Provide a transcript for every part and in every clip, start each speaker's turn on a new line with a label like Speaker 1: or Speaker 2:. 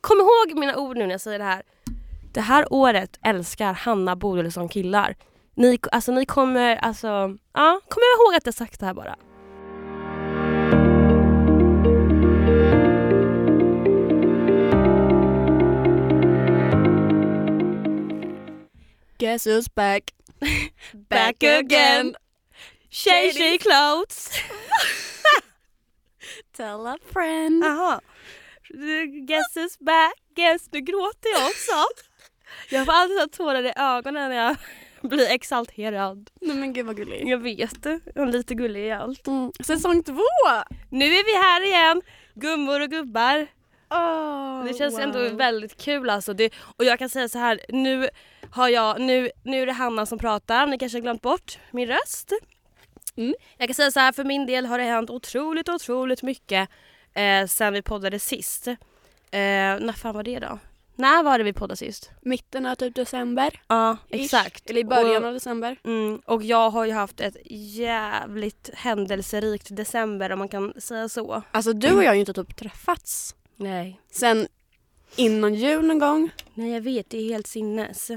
Speaker 1: Kom ihåg mina ord nu när jag säger det här. Det här året älskar Hanna Bodilsson killar. Ni, alltså, ni kommer, alltså, ja, kom ihåg att jag sagt det här bara.
Speaker 2: Guess who's back?
Speaker 1: Back again. Tjej, clothes.
Speaker 2: Tell a friend.
Speaker 1: Jaha. Guess is back, guess. Nu gråter jag också. Jag får alltid ha tårar i ögonen när jag blir exalterad.
Speaker 2: Nej men gud vad gullig.
Speaker 1: Jag vet det. Jag är lite gullig i allt.
Speaker 2: Mm. Säsong två!
Speaker 1: Nu är vi här igen, gummor och gubbar.
Speaker 2: Oh,
Speaker 1: Det känns ändå väldigt kul alltså. Det, och jag kan säga så här, nu har jag, nu, nu är det Hanna som pratar, ni kanske har glömt bort min röst.
Speaker 2: Mm.
Speaker 1: Jag kan säga så här, för min del har det hänt otroligt, otroligt mycket eh, sen vi poddade sist. Eh, när fan var det då? När var det vi poddade sist?
Speaker 2: Mitten av typ december.
Speaker 1: Ja,
Speaker 2: ish.
Speaker 1: exakt.
Speaker 2: Eller i början
Speaker 1: Och,
Speaker 2: av december.
Speaker 1: mm, och jag har ju haft ett jävligt händelserikt december om man kan säga så.
Speaker 2: Alltså du och jag har ju inte typ träffats
Speaker 1: Nej.
Speaker 2: sen innan jul någon gång.
Speaker 1: Nej jag vet, det är helt sinnes.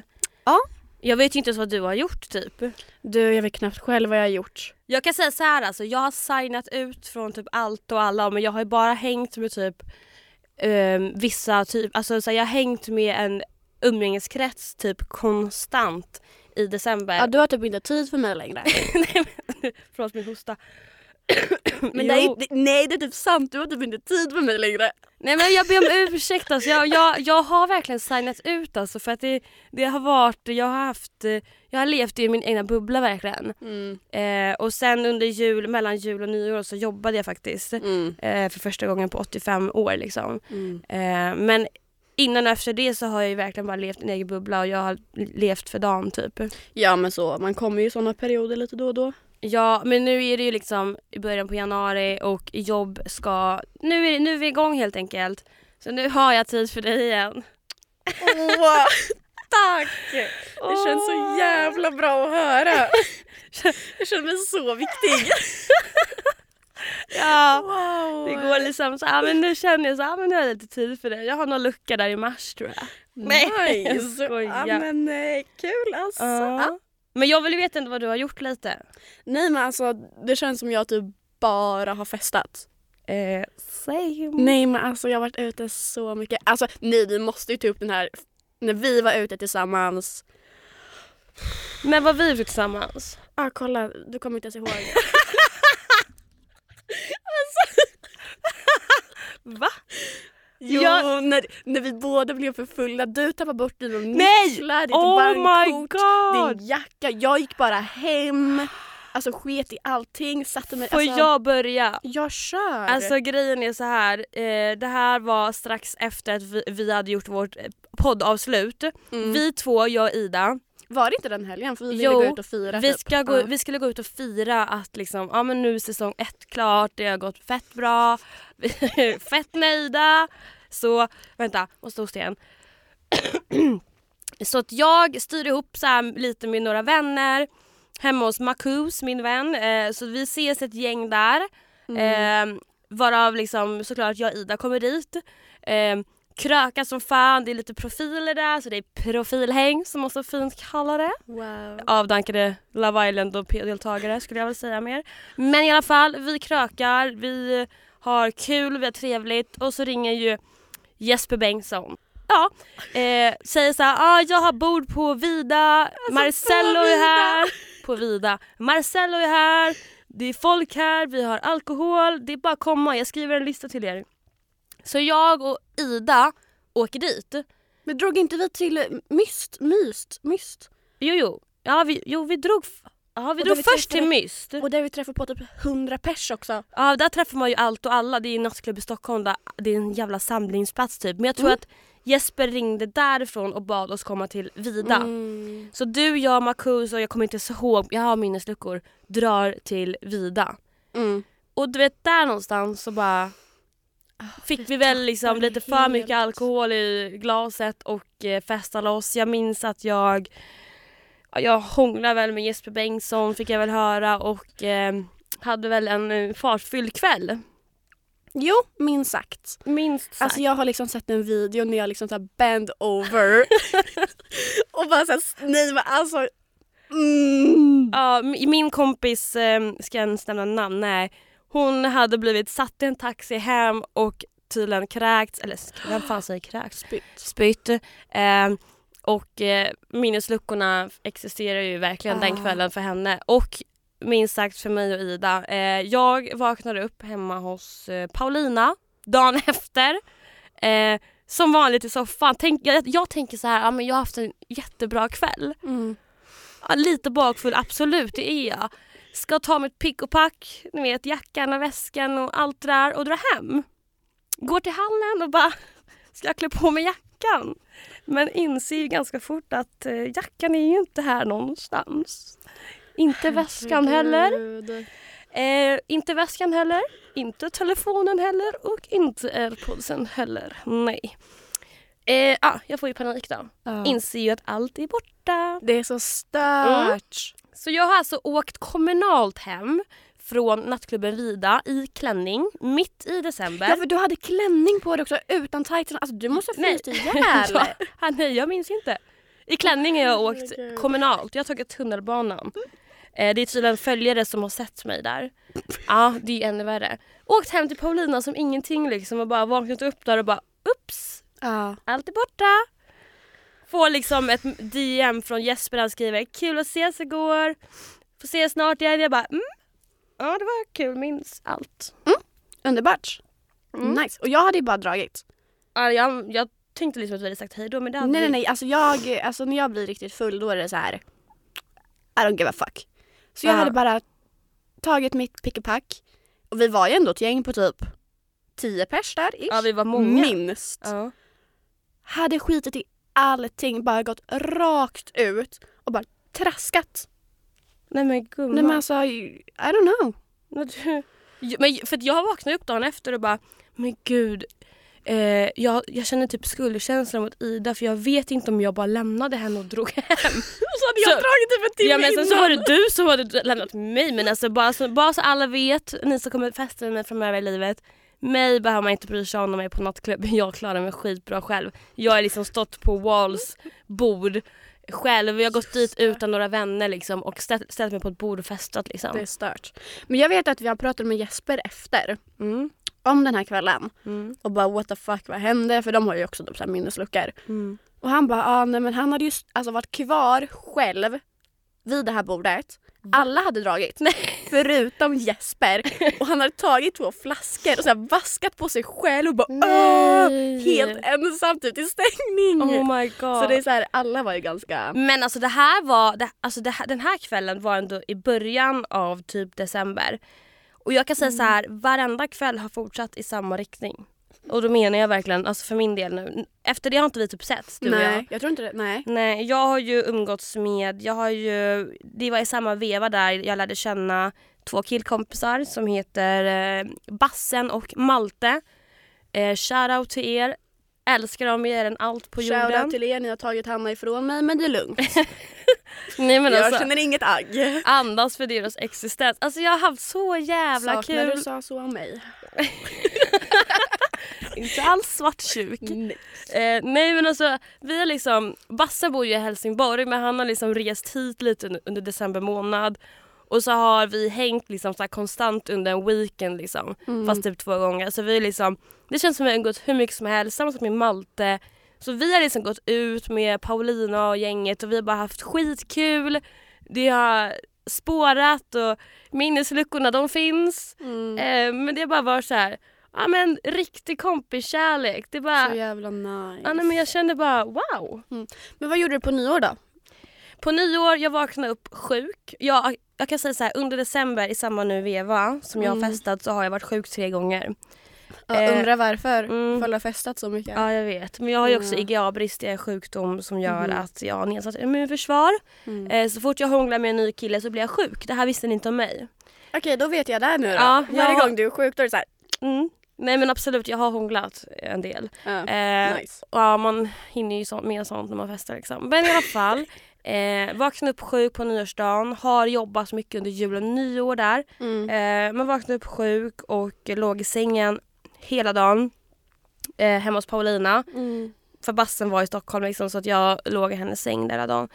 Speaker 2: Ja.
Speaker 1: Jag vet ju inte ens vad du har gjort typ.
Speaker 2: Du, jag vet knappt själv vad jag har gjort.
Speaker 1: Jag kan säga så här alltså, jag har signat ut från typ allt och alla men jag har ju bara hängt med typ ehm, vissa typ, alltså så här, jag har hängt med en umgängeskrets typ konstant i december.
Speaker 2: Ja, du har typ inte tid för mig längre.
Speaker 1: Förlåt min hosta.
Speaker 2: Men det är,
Speaker 1: Jo.
Speaker 2: ju- det- nej, det är typ sant. Du har typ inte tid för mig längre.
Speaker 1: Nej men jag ber om ursäkt alltså. jag, jag, jag har verkligen signat ut alltså för att det, det har varit, jag har haft, eh, jag har levt i min egna bubbla verkligen. Eh, och sen under jul, mellan jul och nyår så jobbade jag faktiskt.
Speaker 2: Mm.
Speaker 1: Eh, för första gången på 85 år liksom. Eh, men innan och efter det så har jag ju verkligen bara levt i en egen bubbla och jag har levt för dagen typ.
Speaker 2: Ja, men så. Man kommer ju i såna perioder lite då och då.
Speaker 1: Ja, men nu är det ju liksom i början på januari och jobb ska... Nu är, nu är vi igång helt enkelt. Så nu har jag tid för dig igen.
Speaker 2: Åh, tack! Det känns så
Speaker 1: Åh.
Speaker 2: jävla bra att höra. Jag känner mig så viktig.
Speaker 1: Ja,
Speaker 2: Wow.
Speaker 1: det går liksom så här, men nu känner jag så här, men nu har jag lite tid för dig. Jag har någon lucka där i mars tror jag. Nej, jag
Speaker 2: Nice.
Speaker 1: skojar.
Speaker 2: Ja, men eh, kul alltså.
Speaker 1: Ja. Men jag vill veta ändå vad du har gjort lite.
Speaker 2: Nej men alltså det känns som jag typ bara har festat.
Speaker 1: Eh, same.
Speaker 2: Nej men alltså jag har varit ute så mycket. Alltså nej vi måste ju ta upp den här när vi var ute tillsammans.
Speaker 1: När var vi ute tillsammans?
Speaker 2: Ah kolla du kommer inte ens ihåg. Alltså.
Speaker 1: Va?
Speaker 2: Jo
Speaker 1: Jag-
Speaker 2: när, när vi båda blev för fulla. Du tappade bort dina
Speaker 1: Nej!
Speaker 2: nycklar, ditt
Speaker 1: Oh my
Speaker 2: bankkort,
Speaker 1: god!
Speaker 2: din jacka. Jag gick bara hem. Alltså sket i allting. Satte mig.
Speaker 1: Får
Speaker 2: alltså,
Speaker 1: jag börja?
Speaker 2: Jag kör.
Speaker 1: Alltså grejen är så här. Eh, det här var strax efter att vi, vi hade gjort vårt eh, poddavslut.
Speaker 2: Mm.
Speaker 1: Vi två, jag och Ida,
Speaker 2: Var det inte den helgen? För vi ville
Speaker 1: Jo,
Speaker 2: gå ut och fira.
Speaker 1: vi,
Speaker 2: typ.
Speaker 1: ska gå,
Speaker 2: Ja.
Speaker 1: vi skulle gå ut och fira att liksom, ja men nu är säsong ett klart, det har gått fett bra, vi är fett nöjda. Så, vänta, måste hosta igen. så att jag styr ihop så här lite med några vänner hemma hos Makus, min vän. Eh, så vi ses ett gäng där.
Speaker 2: Mm.
Speaker 1: Eh, varav liksom såklart jag och Ida kommer dit. Eh, krökar som fan, det är lite profiler där så det är profilhäng som man så fint kallar det
Speaker 2: Wow.
Speaker 1: avdankade Love Island och deltagare skulle jag väl säga mer. Men i alla fall, vi krökar, vi har kul, vi har trevligt och så ringer ju Jesper Bengtsson. Ja, eh, säger så här, ah, jag har bord på Vida, Marcello
Speaker 2: Alltså,
Speaker 1: är
Speaker 2: på Vida."
Speaker 1: här. På Vida. Marcello är här, det är folk här, vi har alkohol, det är bara att komma, jag skriver en lista till er. Så jag och Ida åker dit.
Speaker 2: Men drog inte vi till Myst? Myst? Myst?
Speaker 1: Jo, jo, ja, vi, jo, vi drog, f- ja, vi
Speaker 2: Och
Speaker 1: drog
Speaker 2: där vi
Speaker 1: först till
Speaker 2: träffade-
Speaker 1: Myst.
Speaker 2: Och där vi träffade på typ 100 pers också.
Speaker 1: Ja, där träffar man ju allt och alla. Det är ju en nattklubb i Stockholm där det är en jävla samlingsplats typ. Men jag tror
Speaker 2: Mm.
Speaker 1: att Jesper ringde därifrån och bad oss komma till Vida.
Speaker 2: Mm.
Speaker 1: Så du, jag, Marcus och jag kommer inte så ihåg, jag har minnesluckor, drar till Vida.
Speaker 2: Mm.
Speaker 1: Och du vet där någonstans så bara
Speaker 2: Ah,
Speaker 1: fick vi väl liksom
Speaker 2: tappade
Speaker 1: lite för
Speaker 2: helt.
Speaker 1: mycket alkohol i glaset och eh, festade loss. Jag minns att jag ja, jag hånglade väl med Jesper Bengtsson fick jag väl höra och eh, hade väl en eh, fartfylld kväll.
Speaker 2: Jo, minst sagt.
Speaker 1: Minst sagt.
Speaker 2: Alltså jag har liksom sett en video när jag liksom så här bend over och bara såhär, nej men alltså. Mm.
Speaker 1: Ja, mi- min kompis, eh, ska jag ens nämna namn? Nej. Hon hade blivit satt i en taxi hem och tydligen kräkts, eller sk- vem fan säger kräkts?
Speaker 2: Spytt.
Speaker 1: Spytt. Eh, och eh, minnesluckorna existerar ju verkligen den
Speaker 2: Ah.
Speaker 1: kvällen för henne. Och minst sagt för mig och Ida. Eh, jag vaknade upp hemma hos eh, Paulina dagen efter. Eh, som vanligt i soffan. Tänk, jag, jag tänker så här, ja, men jag har haft en jättebra kväll.
Speaker 2: Mm.
Speaker 1: Ja, lite bakfull, absolut det är jag. Ska ta mitt pick och pack, ni vet jackan och väskan och allt det där och dra hem. Går till hallen och bara, ska jag klä på mig jackan? Men inser ju ganska fort att eh, jackan är ju inte här någonstans. Inte väskan heller,
Speaker 2: Herregud.
Speaker 1: eh, inte väskan heller, inte telefonen heller och inte airpodsen heller. Nej. Eh, ah, jag får ju panik då.
Speaker 2: Ja.
Speaker 1: Inser ju att allt är borta.
Speaker 2: det är så
Speaker 1: Mm.
Speaker 2: stört.
Speaker 1: Så jag har alltså åkt kommunalt hem från nattklubben Vida i klänning mitt i december.
Speaker 2: Ja för du hade klänning på dig också utan tightsen. Alltså du måste ha
Speaker 1: Nej.
Speaker 2: fryst ihjäl.
Speaker 1: Ja, ah, nej, jag minns inte. I klänning har jag åkt
Speaker 2: Herregud. Mm.
Speaker 1: kommunalt. Jag har tagit tunnelbanan. Eh, det är tydligen följare som har sett mig där. Ja, det är ännu värre. Åkt hem till Paulina som ingenting liksom och bara vaknat upp där och bara ups,
Speaker 2: Ja.
Speaker 1: allt är borta. Får liksom ett DM från Jesper, han skriver kul att ses igår, får ses snart igen. Jag bara mm, ja det var kul, minns allt.
Speaker 2: Underbart.
Speaker 1: Mm.
Speaker 2: Nice. Och jag hade ju bara dragit.
Speaker 1: Ja, jag, jag tänkte liksom att vi hade sagt hej då men det hade
Speaker 2: Nej nej
Speaker 1: vi-
Speaker 2: nej, alltså jag, alltså när jag blir riktigt full då är det så här. I don't give a fuck. Så jag
Speaker 1: Ja.
Speaker 2: hade bara tagit mitt pick och pack och vi var ju ändå ett gäng på typ 10 pers där ish.
Speaker 1: Ja vi var många.
Speaker 2: Minst.
Speaker 1: Ja.
Speaker 2: Hade skitit i allting, bara gått rakt ut och bara traskat.
Speaker 1: Nej men gumman.
Speaker 2: Nej men alltså, I don't know.
Speaker 1: Men du- Jo, Men, för att jag vaknade upp dagen efter och bara, men gud. Eh, jag, jag känner typ skuldkänsla mot Ida för jag vet inte om jag bara lämnade henne och drog hem.
Speaker 2: Och så hade
Speaker 1: jag
Speaker 2: dragit typ en
Speaker 1: Ja, men sen så var det du som hade lämnat mig. Men alltså, bara, så, bara så alla vet, ni som kommer festa med mig framöver i livet. Mig behöver man inte bry sig om när man är på nattklubb. Jag klarar mig skitbra själv. Jag har liksom stått på Walls bord själv. Jag har gått dit utan några vänner liksom, och ställt, ställt mig på ett bord och festat.
Speaker 2: Det
Speaker 1: Liksom.
Speaker 2: är stört. Men jag vet att vi har pratat med Jesper efter,
Speaker 1: Mm,
Speaker 2: om den här kvällen.
Speaker 1: mm,
Speaker 2: Och bara what the fuck, vad hände? För de har ju också typ så här minnesluckor.
Speaker 1: mm.
Speaker 2: Och han bara, ah, nej men han hade ju s- alltså, varit kvar själv vid det här bordet. Alla hade dragit, förutom Jesper. Och han hade tagit två flaskor och så här vaskat på sig själv och bara Åh! Ah, Helt ensam typ till stängning.
Speaker 1: Oh my god.
Speaker 2: så det är så här, alla var ju ganska...
Speaker 1: Men alltså det här var, det, alltså det här, den här kvällen var ändå i början av typ december. Och jag kan säga
Speaker 2: Mm.
Speaker 1: så här, varenda kväll har fortsatt i samma riktning. Och då menar jag verkligen, alltså för min del nu. Efter det har inte vi typ setts du och jag.
Speaker 2: nej, jag tror inte det. Nej.
Speaker 1: Nej, jag har ju umgåtts med, jag har ju, det var i samma veva där jag lärde känna två killkompisar som heter eh, Bassen och Malte. Eh, shoutout till er, älskar dem mer än allt på jorden.
Speaker 2: Shoutout till er, ni har tagit Hanna ifrån mig men det är lugnt.
Speaker 1: Nej, men
Speaker 2: jag
Speaker 1: alltså,
Speaker 2: känner inget agg.
Speaker 1: andas för deras existens. Alltså jag har haft så jävla
Speaker 2: Saknar
Speaker 1: kul.
Speaker 2: du sa så om mig.
Speaker 1: Inte alls svartsjuk. Eh, nej men alltså vi har liksom, Basse bor ju i Helsingborg men han har liksom rest hit lite un- under december månad. Och så har vi hängt liksom så här konstant under en weekend liksom. Fast typ två gånger. Så vi är liksom, det känns som att vi har umgåtts hur mycket som helst, samma sak med Malte. Så vi har liksom gått ut med Paulina och gänget och vi har bara haft skitkul. Det har spårat och minnesluckorna de finns.
Speaker 2: Mm.
Speaker 1: Eh, men det har bara varit så här, ja men riktig kompiskärlek. Det är bara,
Speaker 2: Så jävla nice.
Speaker 1: ja, nej, men jag kände bara wow.
Speaker 2: Men vad gjorde du på nyår då?
Speaker 1: På nyår, jag vaknade upp sjuk. Jag, jag kan säga så här, under december i samma nu veva som jag har
Speaker 2: Mm.
Speaker 1: festat så har jag varit sjuk tre gånger.
Speaker 2: Jag
Speaker 1: Eh,
Speaker 2: undrar varför.
Speaker 1: mm.
Speaker 2: Ifall du har festat så mycket.
Speaker 1: Ja jag vet, men jag har ju också
Speaker 2: Mm.
Speaker 1: IGA-brist, det är en sjukdom som gör
Speaker 2: Mhm.
Speaker 1: att jag har nedsatt immunförsvar.
Speaker 2: Mm.
Speaker 1: Eh, så fort jag hånglar med en ny kille så blir jag sjuk. Det här visste ni inte om mig.
Speaker 2: Okej, då vet jag där nu då.
Speaker 1: Ja,
Speaker 2: Varje
Speaker 1: jag-
Speaker 2: gång du är sjuk då är det så här.
Speaker 1: Mm. Nej men absolut, jag har hånglat en del.
Speaker 2: Ja,
Speaker 1: Eh,
Speaker 2: nice.
Speaker 1: Ja, man hinner ju så, med sånt när man festar. Liksom. Men i alla fall, eh, vaknade upp sjuk på nyårsdagen, har jobbat mycket under jul och nyår där.
Speaker 2: Mm.
Speaker 1: Eh, man vaknade upp sjuk och låg i sängen hela dagen eh, hemma hos Paulina.
Speaker 2: Mm.
Speaker 1: För bassen var i Stockholm liksom, så att jag låg i hennes säng där hela dagen.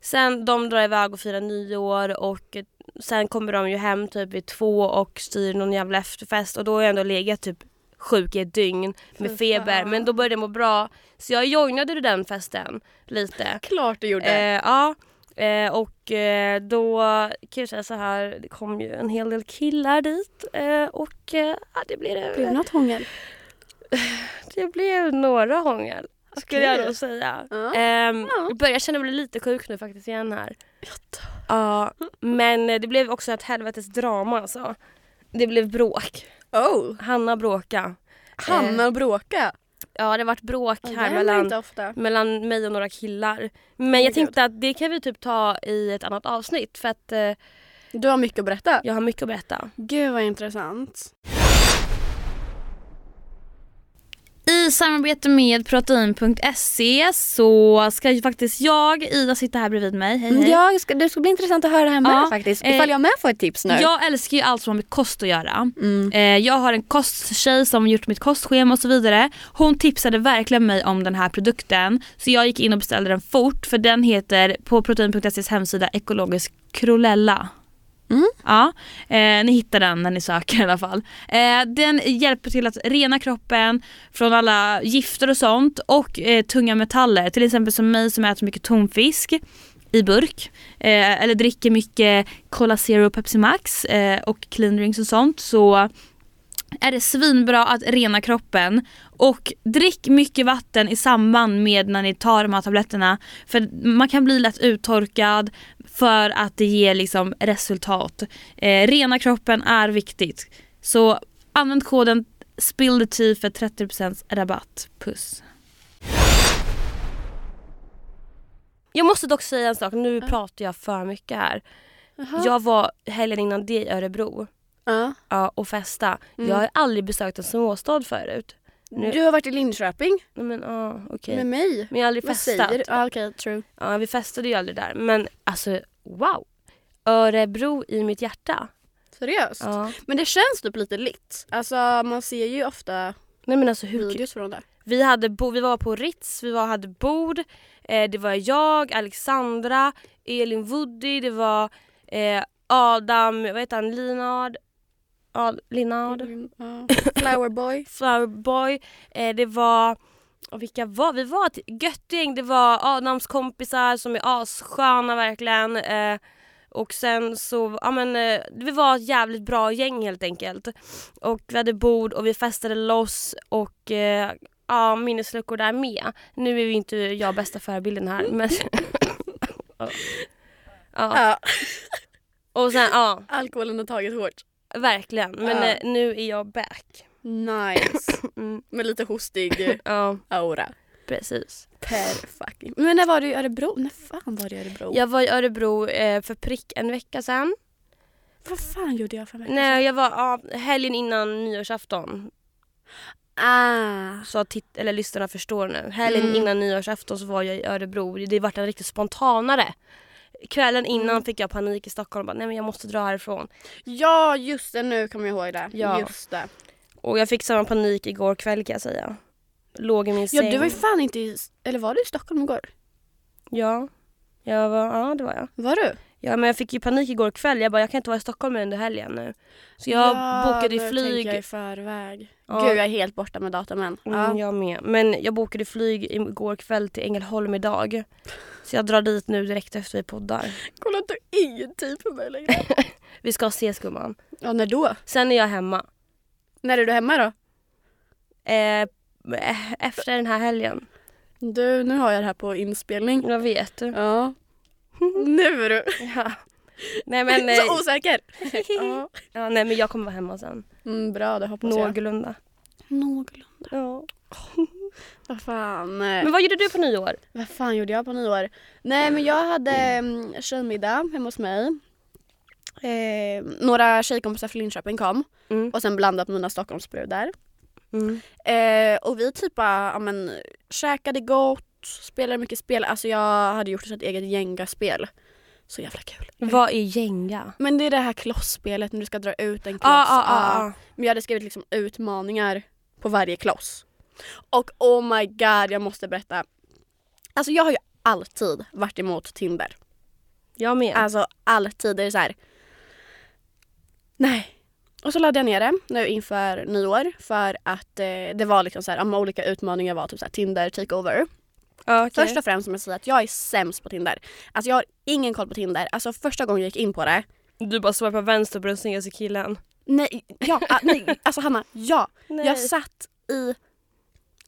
Speaker 1: Sen de drar iväg och firar nyår och eh, sen kommer de ju hem typ vid två och styr någon jävla efterfest och då har jag ändå legat typ sjuk i ett dygn
Speaker 2: Fy
Speaker 1: med feber
Speaker 2: fan.
Speaker 1: men då började jag må bra så jag joinade den festen lite.
Speaker 2: Klart du gjorde.
Speaker 1: Eh, ja. Eh, och eh, då kan jag säga så här, det kom ju en hel del killar dit eh, och eh, ja, det, blev,
Speaker 2: Blev det något hångel?
Speaker 1: det blev några hångel skulle
Speaker 2: Okej.
Speaker 1: jag nog säga.
Speaker 2: Ja.
Speaker 1: Ehm,
Speaker 2: Ja.
Speaker 1: Jag börjar känna mig lite sjuk nu faktiskt igen här.
Speaker 2: Jag dör.
Speaker 1: Ja, men eh, det blev också ett helvetes drama alltså. Det blev bråk.
Speaker 2: Oh!
Speaker 1: Hanna bråka.
Speaker 2: Hanna och bråka.
Speaker 1: Ja, det vart bråk
Speaker 2: Ja, Det
Speaker 1: här
Speaker 2: händer
Speaker 1: mellan
Speaker 2: inte ofta.
Speaker 1: mellan mig och några killar. Men
Speaker 2: Oh my
Speaker 1: jag tänkte att det kan vi typ ta i ett annat avsnitt för att eh,
Speaker 2: Du har mycket att berätta.
Speaker 1: jag har mycket att berätta.
Speaker 2: Gud vad intressant.
Speaker 3: I samarbete med protein.se så ska ju faktiskt jag, Ida sitter här bredvid mig, hej hej.
Speaker 2: Ja, det ska, det ska bli intressant att höra det här med
Speaker 3: Ja,
Speaker 2: faktiskt.
Speaker 3: eh,
Speaker 2: Ifall jag med får ett tips nu.
Speaker 3: Jag älskar ju allt som har med kost att göra.
Speaker 2: Mm.
Speaker 3: Eh, jag har en kosttjej som har gjort mitt kostschema och så vidare. Hon tipsade verkligen mig om den här produkten så jag gick in och beställde den fort för den heter på protein.ses hemsida ekologisk krolella.
Speaker 2: Mm.
Speaker 3: Ja, eh, ni hittar den när ni söker i alla fall. Eh, den hjälper till att rena kroppen från alla gifter och sånt och eh, tunga metaller. Till exempel som mig som äter mycket tonfisk i burk eh, eller dricker mycket Cola Zero och Pepsi Max eh, och clean drinks och sånt så är det svinbra att rena kroppen och drick mycket vatten i samband med när ni tar de här tabletterna för man kan bli lätt uttorkad för att det ger liksom resultat. Eh, rena kroppen är viktigt så använd koden SPILLTHETEA för 30% rabatt. Puss.
Speaker 1: Jag måste dock säga en sak, nu pratar jag för mycket här. Jag var helgen innan det i Örebro
Speaker 2: Ja.
Speaker 1: ja, och festa.
Speaker 2: Mm.
Speaker 1: Jag har aldrig besökt en småstad förut. Nu-
Speaker 2: Du har varit i Linköping
Speaker 1: Nej, Men, ja, okej.
Speaker 2: med
Speaker 1: men
Speaker 2: mig.
Speaker 1: jag har aldrig
Speaker 2: Vad
Speaker 1: festat.
Speaker 2: säger du? Ja, Okej, true.
Speaker 1: Ja, vi festade ju aldrig där. Men alltså wow! Örebro i mitt hjärta.
Speaker 2: Seriöst?
Speaker 1: Ja.
Speaker 2: Men det känns typ lite litt. Alltså man ser ju ofta
Speaker 1: Nej men alltså hur kul?
Speaker 2: videos från det.
Speaker 1: Vi, hade bo- vi var på Ritz, vi var, hade bord. Eh, det var jag, Alexandra, Elin Woody, det var eh, Adam, vad heter han, Linard? Ad- Linard?
Speaker 2: Mm, Ja. Flowerboy.
Speaker 1: Flowerboy. Eh, det var... Och vilka var vi? var ett gött gäng. Det var Adams kompisar som är assköna verkligen. Eh, och sen så, ja men eh, vi var ett jävligt bra gäng helt enkelt. Och vi hade bord och vi festade loss och eh, ja, minnesluckor där med. Nu är ju inte jag bästa förebilden här men... ja. ja.
Speaker 2: Ja.
Speaker 1: Och sen, ja,
Speaker 2: Alkoholen har tagit hårt.
Speaker 1: verkligen. Men
Speaker 2: Ja.
Speaker 1: eh, nu är jag back.
Speaker 2: Nice.
Speaker 1: Mm,
Speaker 2: Med lite hostig
Speaker 1: ja,
Speaker 2: aura.
Speaker 1: precis.
Speaker 2: Per fucking. Men när var du i Örebro? När fan var du i Örebro?
Speaker 1: Jag var i Örebro eh, för prick en vecka sedan.
Speaker 2: Vad fan gjorde jag för mig?
Speaker 1: Nej, jag var ja, helgen innan nyårsafton.
Speaker 2: Ah.
Speaker 1: Så titt- eller lyssnarna förstår nu. Helgen
Speaker 2: Mm.
Speaker 1: innan nyårsafton så var jag i Örebro. Det vart en riktigt spontanare. Kvällen
Speaker 2: Mm.
Speaker 1: innan fick jag panik i Stockholm. Bara, Nej men jag måste dra härifrån.
Speaker 2: Ja just det, nu kommer jag ihåg det.
Speaker 1: Ja.
Speaker 2: Just det.
Speaker 1: Och jag fick samma panik igår kväll kan jag säga. Låg i min
Speaker 2: Ja
Speaker 1: säng.
Speaker 2: du var ju fan inte i, eller var du i Stockholm igår?
Speaker 1: Ja. Jag var, ja det var jag.
Speaker 2: Var du?
Speaker 1: Ja men jag fick ju panik igår kväll. Jag bara jag kan inte vara i Stockholm under helgen nu. Så jag bokade
Speaker 2: nu
Speaker 1: flyg.
Speaker 2: tänker jag i förväg.
Speaker 1: Ja.
Speaker 2: Gud jag är helt borta med datumen.
Speaker 1: Mm, Jag med. Men jag bokade flyg igår kväll till Ängelholm idag. Så jag drar dit nu direkt efter vi poddar.
Speaker 2: Kolla inte ingen tid på mig längre.
Speaker 1: Vi ska ses gumman.
Speaker 2: ja när då?
Speaker 1: Sen är jag hemma.
Speaker 2: När är du hemma då?
Speaker 1: Eh, eh, efter den här helgen.
Speaker 2: Du nu har jag det här på inspelning.
Speaker 1: Jag vet.
Speaker 2: Mm. Ja. nu är du
Speaker 1: Ja. Nej, men, eh,
Speaker 2: så osäker. ja.
Speaker 1: ja, nej men jag kommer vara hemma sen.
Speaker 2: mm, bra det hoppas jag.
Speaker 1: Någorlunda.
Speaker 2: Någorlunda.
Speaker 1: Ja.
Speaker 2: Vad fan. eh,
Speaker 1: Men vad gjorde du på nyår?
Speaker 2: Vad fan gjorde jag på nyår? Nej men jag hade mm, tjejmiddag hemma hos mig. Eh, några tjejkompisar från Linköping kom
Speaker 1: Mm.
Speaker 2: och sen blandat mina Stockholmsbrudar.
Speaker 1: Mm.
Speaker 2: Eh, och vi typ bara, ja, men, käkade gott, spelade mycket spel. Alltså jag hade gjort ett eget Jenga-spel. Så jävla kul.
Speaker 1: Vad är gänga?
Speaker 2: Men det är det här klosspelet när du ska dra ut en kloss.
Speaker 1: Ah, ah, ah, ah.
Speaker 2: Men jag hade skrivit liksom utmaningar på varje kloss. Och oh my god, jag måste berätta. Alltså jag har ju alltid varit emot Tinder.
Speaker 1: Jag med.
Speaker 2: Alltså alltid är det så här. Nej. Och så laddade jag ner det nu inför nyår för att eh, det var liksom så här, ja, men olika utmaningar var typ så här, Tinder takeover.
Speaker 1: Ja, okej.
Speaker 2: Först och främst måste jag säga att jag är sämst på Tinder. Alltså jag har ingen koll på Tinder. Alltså första gången jag gick in på det.
Speaker 1: Du bara swipar vänster på den snyggaste killen.
Speaker 2: Nej, ja, ah, nej. Alltså Hanna, ja.
Speaker 1: Nej.
Speaker 2: Jag satt i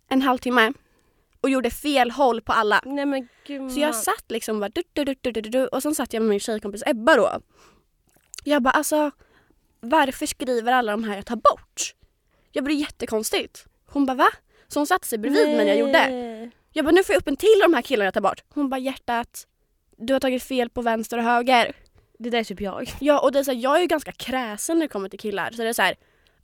Speaker 2: en halvtimme och gjorde fel håll på alla.
Speaker 1: Nej men gumman.
Speaker 2: Så jag satt liksom bara du, du, du, du, du, du, du, och sen satt jag med min tjejkompis Ebba då. Jag bara alltså varför skriver alla de här jag tar bort? Jag blir jättekonstigt. Hon bara va? Så hon satte sig bredvid mig när jag gjorde.
Speaker 1: Nej.
Speaker 2: Jag bara nu får jag upp en till av de här killarna jag tar bort. Hon bara hjärtat du har tagit fel på vänster och höger.
Speaker 1: Det där är typ jag.
Speaker 2: Ja och det är så här, jag är ju ganska kräsen när det kommer till killar så det är så här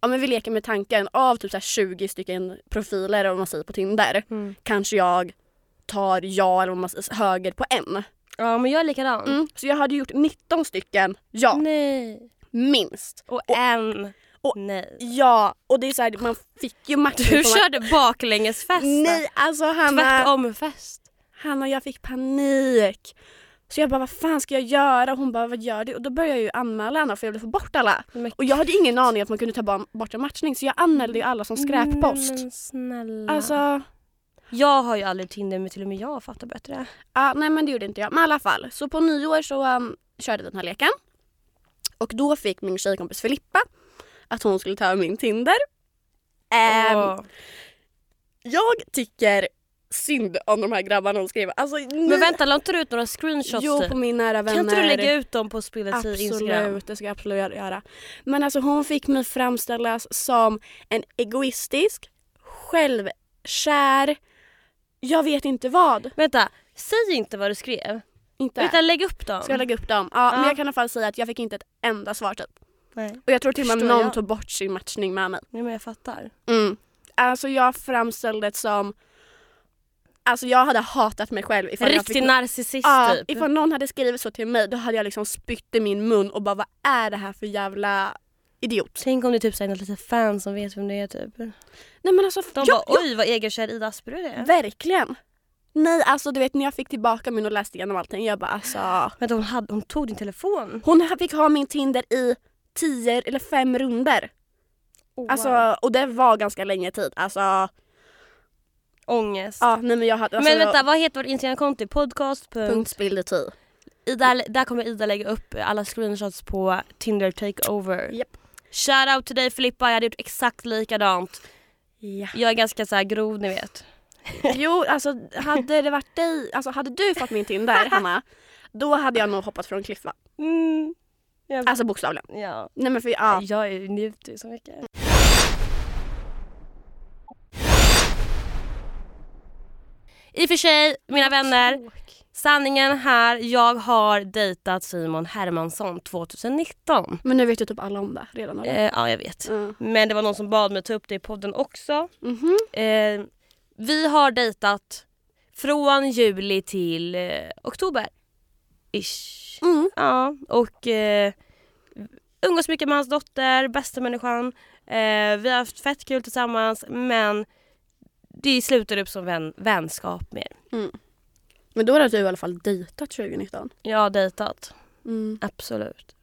Speaker 2: Ja men vi leker med tanken av typ så här 20 stycken profiler eller vad man säger på Tinder kanske jag tar ja eller vad man säger, höger på en.
Speaker 1: Ja men jag är likadan.
Speaker 2: Mm. Så jag hade gjort 19 stycken ja,
Speaker 1: Nej.
Speaker 2: minst.
Speaker 1: Och en.
Speaker 2: och-
Speaker 1: Nej.
Speaker 2: Ja, och det är så här, man fick ju max.
Speaker 1: Du körde baklängesfest.
Speaker 2: Nej, alltså Hanna,
Speaker 1: Tvärtomfest.
Speaker 2: Hanna, jag fick panik. Så jag bara, vad fan ska jag göra? Och hon bara, vad gör du? Och då började jag ju anmäla alla för jag ville få bort alla.
Speaker 1: Men-
Speaker 2: Och jag hade ingen aning att man kunde ta ba- bort en matchning så jag anmälde ju alla som skräppost.
Speaker 1: Nej, men snälla.
Speaker 2: Alltså,
Speaker 1: Jag har ju aldrig Tinder men till och med jag fattar bättre.
Speaker 2: ja, nej men det gjorde inte jag. Men i alla fall, så på nyår så um, körde jag den här leken. Och då fick min tjejkompis Filippa att hon skulle ta över min Tinder. Ehm,
Speaker 1: Åh.
Speaker 2: Jag tycker synd om de här grabbarna hon skrev. Alltså,
Speaker 1: Men vänta, la inte du ut några screenshots
Speaker 2: Jo,
Speaker 1: typ?
Speaker 2: på min nära
Speaker 1: Kan
Speaker 2: vänner.
Speaker 1: inte du lägga ut dem på spelets Alltså, i Instagram?
Speaker 2: Absolut, det ska jag absolut göra. Men alltså hon fick mig framställas som en egoistisk, självkär, jag vet inte vad.
Speaker 1: Vänta, säg inte vad du skrev.
Speaker 2: Inte.
Speaker 1: Utan lägg upp dem.
Speaker 2: Ska jag lägga upp dem? Ja,
Speaker 1: Ja.
Speaker 2: men jag kan i alla fall säga att jag fick inte ett enda svar typ.
Speaker 1: Nej.
Speaker 2: Och jag tror till och med
Speaker 1: Förstår
Speaker 2: någon
Speaker 1: jag.
Speaker 2: tog bort sin matchning med mig.
Speaker 1: Nej men jag fattar.
Speaker 2: Mm. Alltså jag framställdes som, alltså jag hade hatat mig själv ifall jag fick
Speaker 1: Riktig narcissist
Speaker 2: Ja,
Speaker 1: typ.
Speaker 2: ifall någon hade skrivit så till mig då hade jag liksom spytt i min mun och bara vad är det här för jävla idiot?
Speaker 1: Tänk om det är typ såhär något litet fan som vet vem det är typ. De
Speaker 2: Nej men alltså,
Speaker 1: bara
Speaker 2: ja, ja,
Speaker 1: oj vad egenkär Ida Asperud är.
Speaker 2: verkligen. Nej alltså du vet när jag fick tillbaka min och läste igenom allting jag bara alltså.
Speaker 1: Vänta hon, hade, hon tog din telefon.
Speaker 2: Hon fick ha min Tinder i tio eller fem runder. Alltså och det var ganska länge tid. Alltså
Speaker 1: Ångest.
Speaker 2: ja nej men jag hade. Alltså,
Speaker 1: men vänta vad heter vårt Instagramkonto? Podcast.
Speaker 2: Punkt spill i tid.
Speaker 1: Ida, där kommer Ida lägga upp alla screenshots på Tinder takeover.
Speaker 2: Japp.
Speaker 1: Shout out till dig Filippa, jag hade gjort exakt likadant.
Speaker 2: Ja.
Speaker 1: Jag är ganska så här grov ni vet.
Speaker 2: Jo alltså hade det varit dig, alltså hade du fått min Tinder Hanna då hade jag nog hoppat från kliffa.
Speaker 1: Mm. Jag,
Speaker 2: Alltså bokstavligen.
Speaker 1: ja.
Speaker 2: Nej men för ja.
Speaker 1: jag är- njuter ju så mycket. I och för sig, mina vänner, sanningen här. Jag har dejtat Simon Hermansson 2019.
Speaker 2: Men nu vet ju typ alla om det redan. eller?
Speaker 1: Eh, ja, jag vet.
Speaker 2: Mm.
Speaker 1: Men det var någon som bad mig ta upp det i podden också.
Speaker 2: Mhm.
Speaker 1: Eh, vi har dejtat från juli till eh, oktober. Ish.
Speaker 2: Mm.
Speaker 1: Ja, och eh, umgås mycket med hans dotter, bästa människan. Eh, vi har haft fett kul tillsammans men det slutar upp som vän, vänskap mer.
Speaker 2: Men då hade du i alla fall dejtat 2019.
Speaker 1: Jag har dejtat,
Speaker 2: Mm.
Speaker 1: absolut.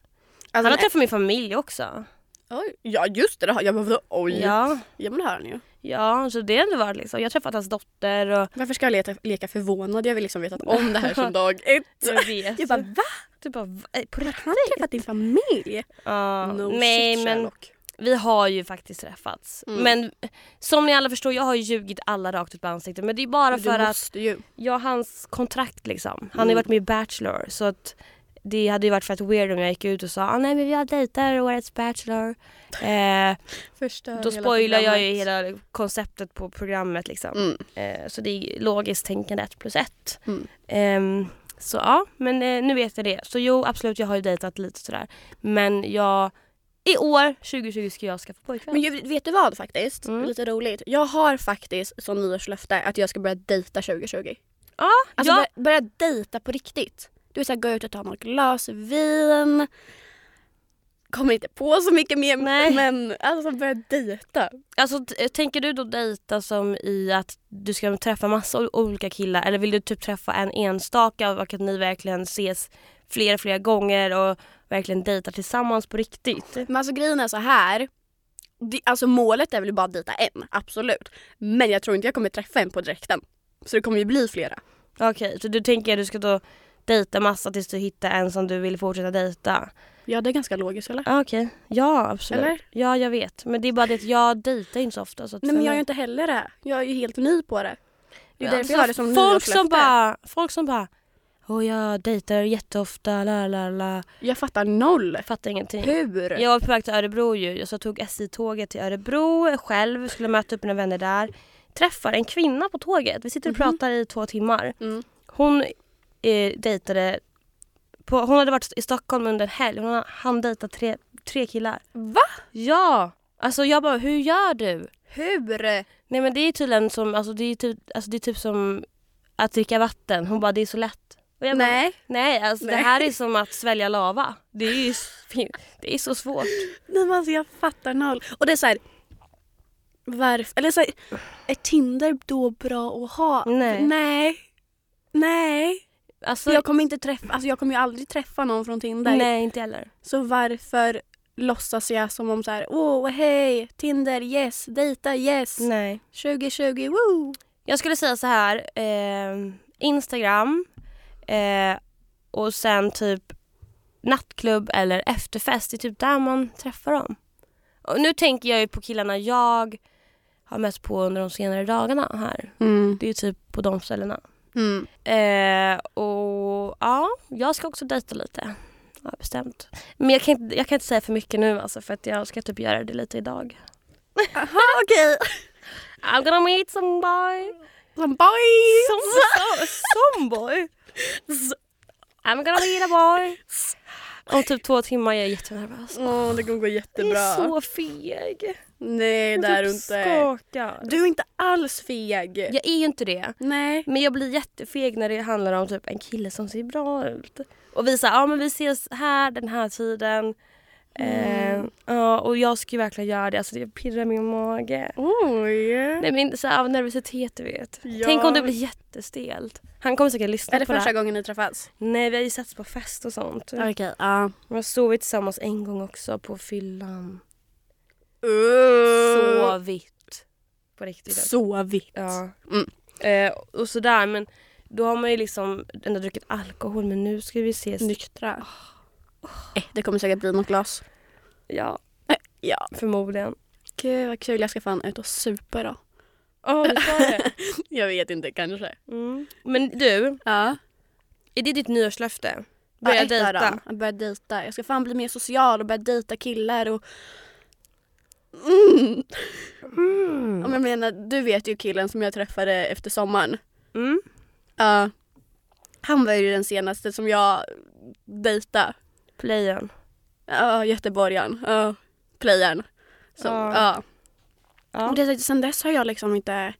Speaker 1: Han
Speaker 2: Alltså,
Speaker 1: har träffat min familj också.
Speaker 2: oj. Ja just det, det har- jag bara oj. Ja.
Speaker 1: Ja,
Speaker 2: men det har han ju.
Speaker 1: ja, så det har ändå varit liksom. Jag har träffat hans dotter och
Speaker 2: Varför ska jag leta, leka förvånad? Jag vill liksom veta om det här från dag ett.
Speaker 1: jag vet.
Speaker 2: Jag bara va?
Speaker 1: typ bara, va? Eh, på
Speaker 2: Har
Speaker 1: riktigt?
Speaker 2: han träffat din familj?
Speaker 1: Ja,
Speaker 2: No
Speaker 1: nej
Speaker 2: shit,
Speaker 1: men
Speaker 2: Sherlock.
Speaker 1: vi har ju faktiskt träffats.
Speaker 2: Mm.
Speaker 1: Men som ni alla förstår, jag har ju ljugit alla rakt ut på ansiktet. Men det är bara
Speaker 2: Men
Speaker 1: för
Speaker 2: du
Speaker 1: att
Speaker 2: måste ju.
Speaker 1: Ja, hans kontrakt liksom. Han har
Speaker 2: Mm.
Speaker 1: ju varit med i Bachelor så att det hade ju varit fett weird om jag gick ut och sa ah, nej men jag dejtar årets Bachelor. Eh,
Speaker 2: Förstör
Speaker 1: då spoilar jag ju hela konceptet på programmet liksom.
Speaker 2: Mm.
Speaker 1: Eh, så det är logiskt tänkande ett plus ett.
Speaker 2: Mm.
Speaker 1: Ehm, så ja, men eh, nu vet jag det. Så jo absolut jag har ju dejtat lite sådär. Men jag, i år 2020 ska jag skaffa pojkvän.
Speaker 2: Men ju, vet du vad faktiskt?
Speaker 1: Mm.
Speaker 2: Lite roligt. Jag har faktiskt som nyårslöfte att jag ska börja dejta 2020.
Speaker 1: ja,
Speaker 2: Alltså
Speaker 1: jag,
Speaker 2: börja, börja dejta på riktigt. Du vet såhär gå ut och ta något glas vin. kommer inte på så mycket mer
Speaker 1: Nej.
Speaker 2: men alltså börja dejta.
Speaker 1: Alltså t- tänker du då dejta som i att du ska träffa massa o- olika killar eller vill du typ träffa en enstaka och att ni verkligen ses flera flera gånger och verkligen dejtar tillsammans på riktigt?
Speaker 2: Men alltså grejen är så här. Det, alltså målet är väl bara att dejta en, absolut. Men jag tror inte jag kommer träffa en på direkten. Så det kommer ju bli flera.
Speaker 1: Okej, så du tänker att du ska då dejta massa tills du hittar en som du vill fortsätta dejta?
Speaker 2: Ja det är ganska logiskt eller?
Speaker 1: Ah, Okej, ja absolut.
Speaker 2: Eller?
Speaker 1: Ja jag vet, men det är bara det att jag dejtar inte så ofta. Så att
Speaker 2: Nej
Speaker 1: för
Speaker 2: men jag
Speaker 1: mig-
Speaker 2: är ju inte heller det. Jag är ju helt ny på det. Det är därför jag
Speaker 1: Alltså,
Speaker 2: har det som
Speaker 1: folk som
Speaker 2: nyårslöfte.
Speaker 1: bara, Folk som bara, åh jag dejtar jätteofta, la la la.
Speaker 2: Jag fattar noll.
Speaker 1: Jag fattar ingenting.
Speaker 2: Hur?
Speaker 1: Jag var på väg till Örebro ju, så jag tog SJ-tåget till Örebro själv, skulle möta upp mina vänner där. Träffar en kvinna på tåget, vi sitter och
Speaker 2: Mhm.
Speaker 1: pratar i två timmar.
Speaker 2: Mm.
Speaker 1: Hon eh, dejtade, på, hon hade varit i Stockholm under en helg, hon hann dejta tre, tre killar.
Speaker 2: Va?
Speaker 1: Ja! Alltså jag bara, hur gör du?
Speaker 2: Hur?
Speaker 1: Nej men det är tydligen som, alltså det är typ, alltså, det är typ som att dricka vatten. Hon bara, det är så lätt. Och jag bara,
Speaker 2: Nej.
Speaker 1: Nej, alltså det
Speaker 2: Nej.
Speaker 1: här är som att svälja lava. Det är ju s- det är så svårt.
Speaker 2: Nej men alltså jag fattar noll. Och det är så här. Varför? Eller så här, är Tinder då bra att ha?
Speaker 1: Nej.
Speaker 2: Nej. Nej.
Speaker 1: Alltså,
Speaker 2: För jag kommer inte träffa, alltså jag kommer ju aldrig träffa någon från Tinder.
Speaker 1: Nej, inte heller.
Speaker 2: Så varför låtsas jag som om så här, åh hej, Tinder, yes, dejta, yes,
Speaker 1: Nej.
Speaker 2: 2020, woo!
Speaker 1: Jag skulle säga så här. Eh, Instagram eh, och sen typ nattklubb eller efterfest. Det är typ där man träffar dem. Och nu tänker jag ju på killarna jag har mött på under de senare dagarna här. Det är ju typ på de ställena.
Speaker 2: Mm.
Speaker 1: Eh, och ja, jag ska också dejta lite. Ja, bestämt. Men jag kan, inte, jag kan inte säga för mycket nu alltså, för att jag ska typ göra det lite idag.
Speaker 2: Okej,
Speaker 1: I'm gonna meet somebody.
Speaker 2: som boy!
Speaker 1: Som, som, som boy? I'm gonna meet a boy. Om typ två timmar, jag är jättenervös.
Speaker 2: Åh, det kommer gå
Speaker 1: Jag är så feg.
Speaker 2: Nej,
Speaker 1: Jag
Speaker 2: det är
Speaker 1: typ
Speaker 2: du inte.
Speaker 1: skakar.
Speaker 2: Du är inte alls feg.
Speaker 1: Jag är ju inte det.
Speaker 2: Nej.
Speaker 1: Men jag blir jättefeg när det handlar om typ en kille som ser bra ut. Och vi säger, ja men vi ses här den här tiden.
Speaker 2: Mm.
Speaker 1: Eh, ja, och jag ska ju verkligen göra det, alltså det pirrar min mage.
Speaker 2: Oj.
Speaker 1: Nej men så här, av nervositet du vet.
Speaker 2: Ja.
Speaker 1: Tänk om det blir jättestelt. Han kommer säkert lyssna
Speaker 2: Är det
Speaker 1: på det
Speaker 2: första
Speaker 1: här.
Speaker 2: gången ni träffas?
Speaker 1: Nej vi har ju setts på fest och sånt. Vi
Speaker 2: Okej, ja.
Speaker 1: har sovit tillsammans en gång också på fyllan.
Speaker 2: Uh.
Speaker 1: Sovit. På riktigt. alltså.
Speaker 2: Sovit.
Speaker 1: Ja.
Speaker 2: Mm.
Speaker 1: Eh, och sådär men då har man ju liksom ändå druckit alkohol men nu ska vi ses.
Speaker 2: Nyktra. Eh, Det kommer säkert bli något glas.
Speaker 1: Ja,
Speaker 2: Ja.
Speaker 1: förmodligen.
Speaker 2: Gud vad kul, jag ska fan ut och supa då.
Speaker 1: Oh,
Speaker 2: Jag vet inte, kanske.
Speaker 1: mm. Men du,
Speaker 2: Ja.
Speaker 1: är det ditt nyårslöfte?
Speaker 2: Ja,
Speaker 1: Börja
Speaker 2: ett av
Speaker 1: dejta?
Speaker 2: dem. Att börja dejta. Jag ska fan bli mer social och börja dejta killar och... Mm.
Speaker 1: Mm.
Speaker 2: Om jag menar, du vet ju killen som jag träffade efter sommaren.
Speaker 1: Mm.
Speaker 2: Ja. han var ju den senaste som jag dejtade.
Speaker 1: Playen.
Speaker 2: Ja, göteborgaren. Ja, playern. Så,
Speaker 1: Ja.
Speaker 2: ja.
Speaker 1: Ja.
Speaker 2: Och det, är så- sen dess har jag liksom inte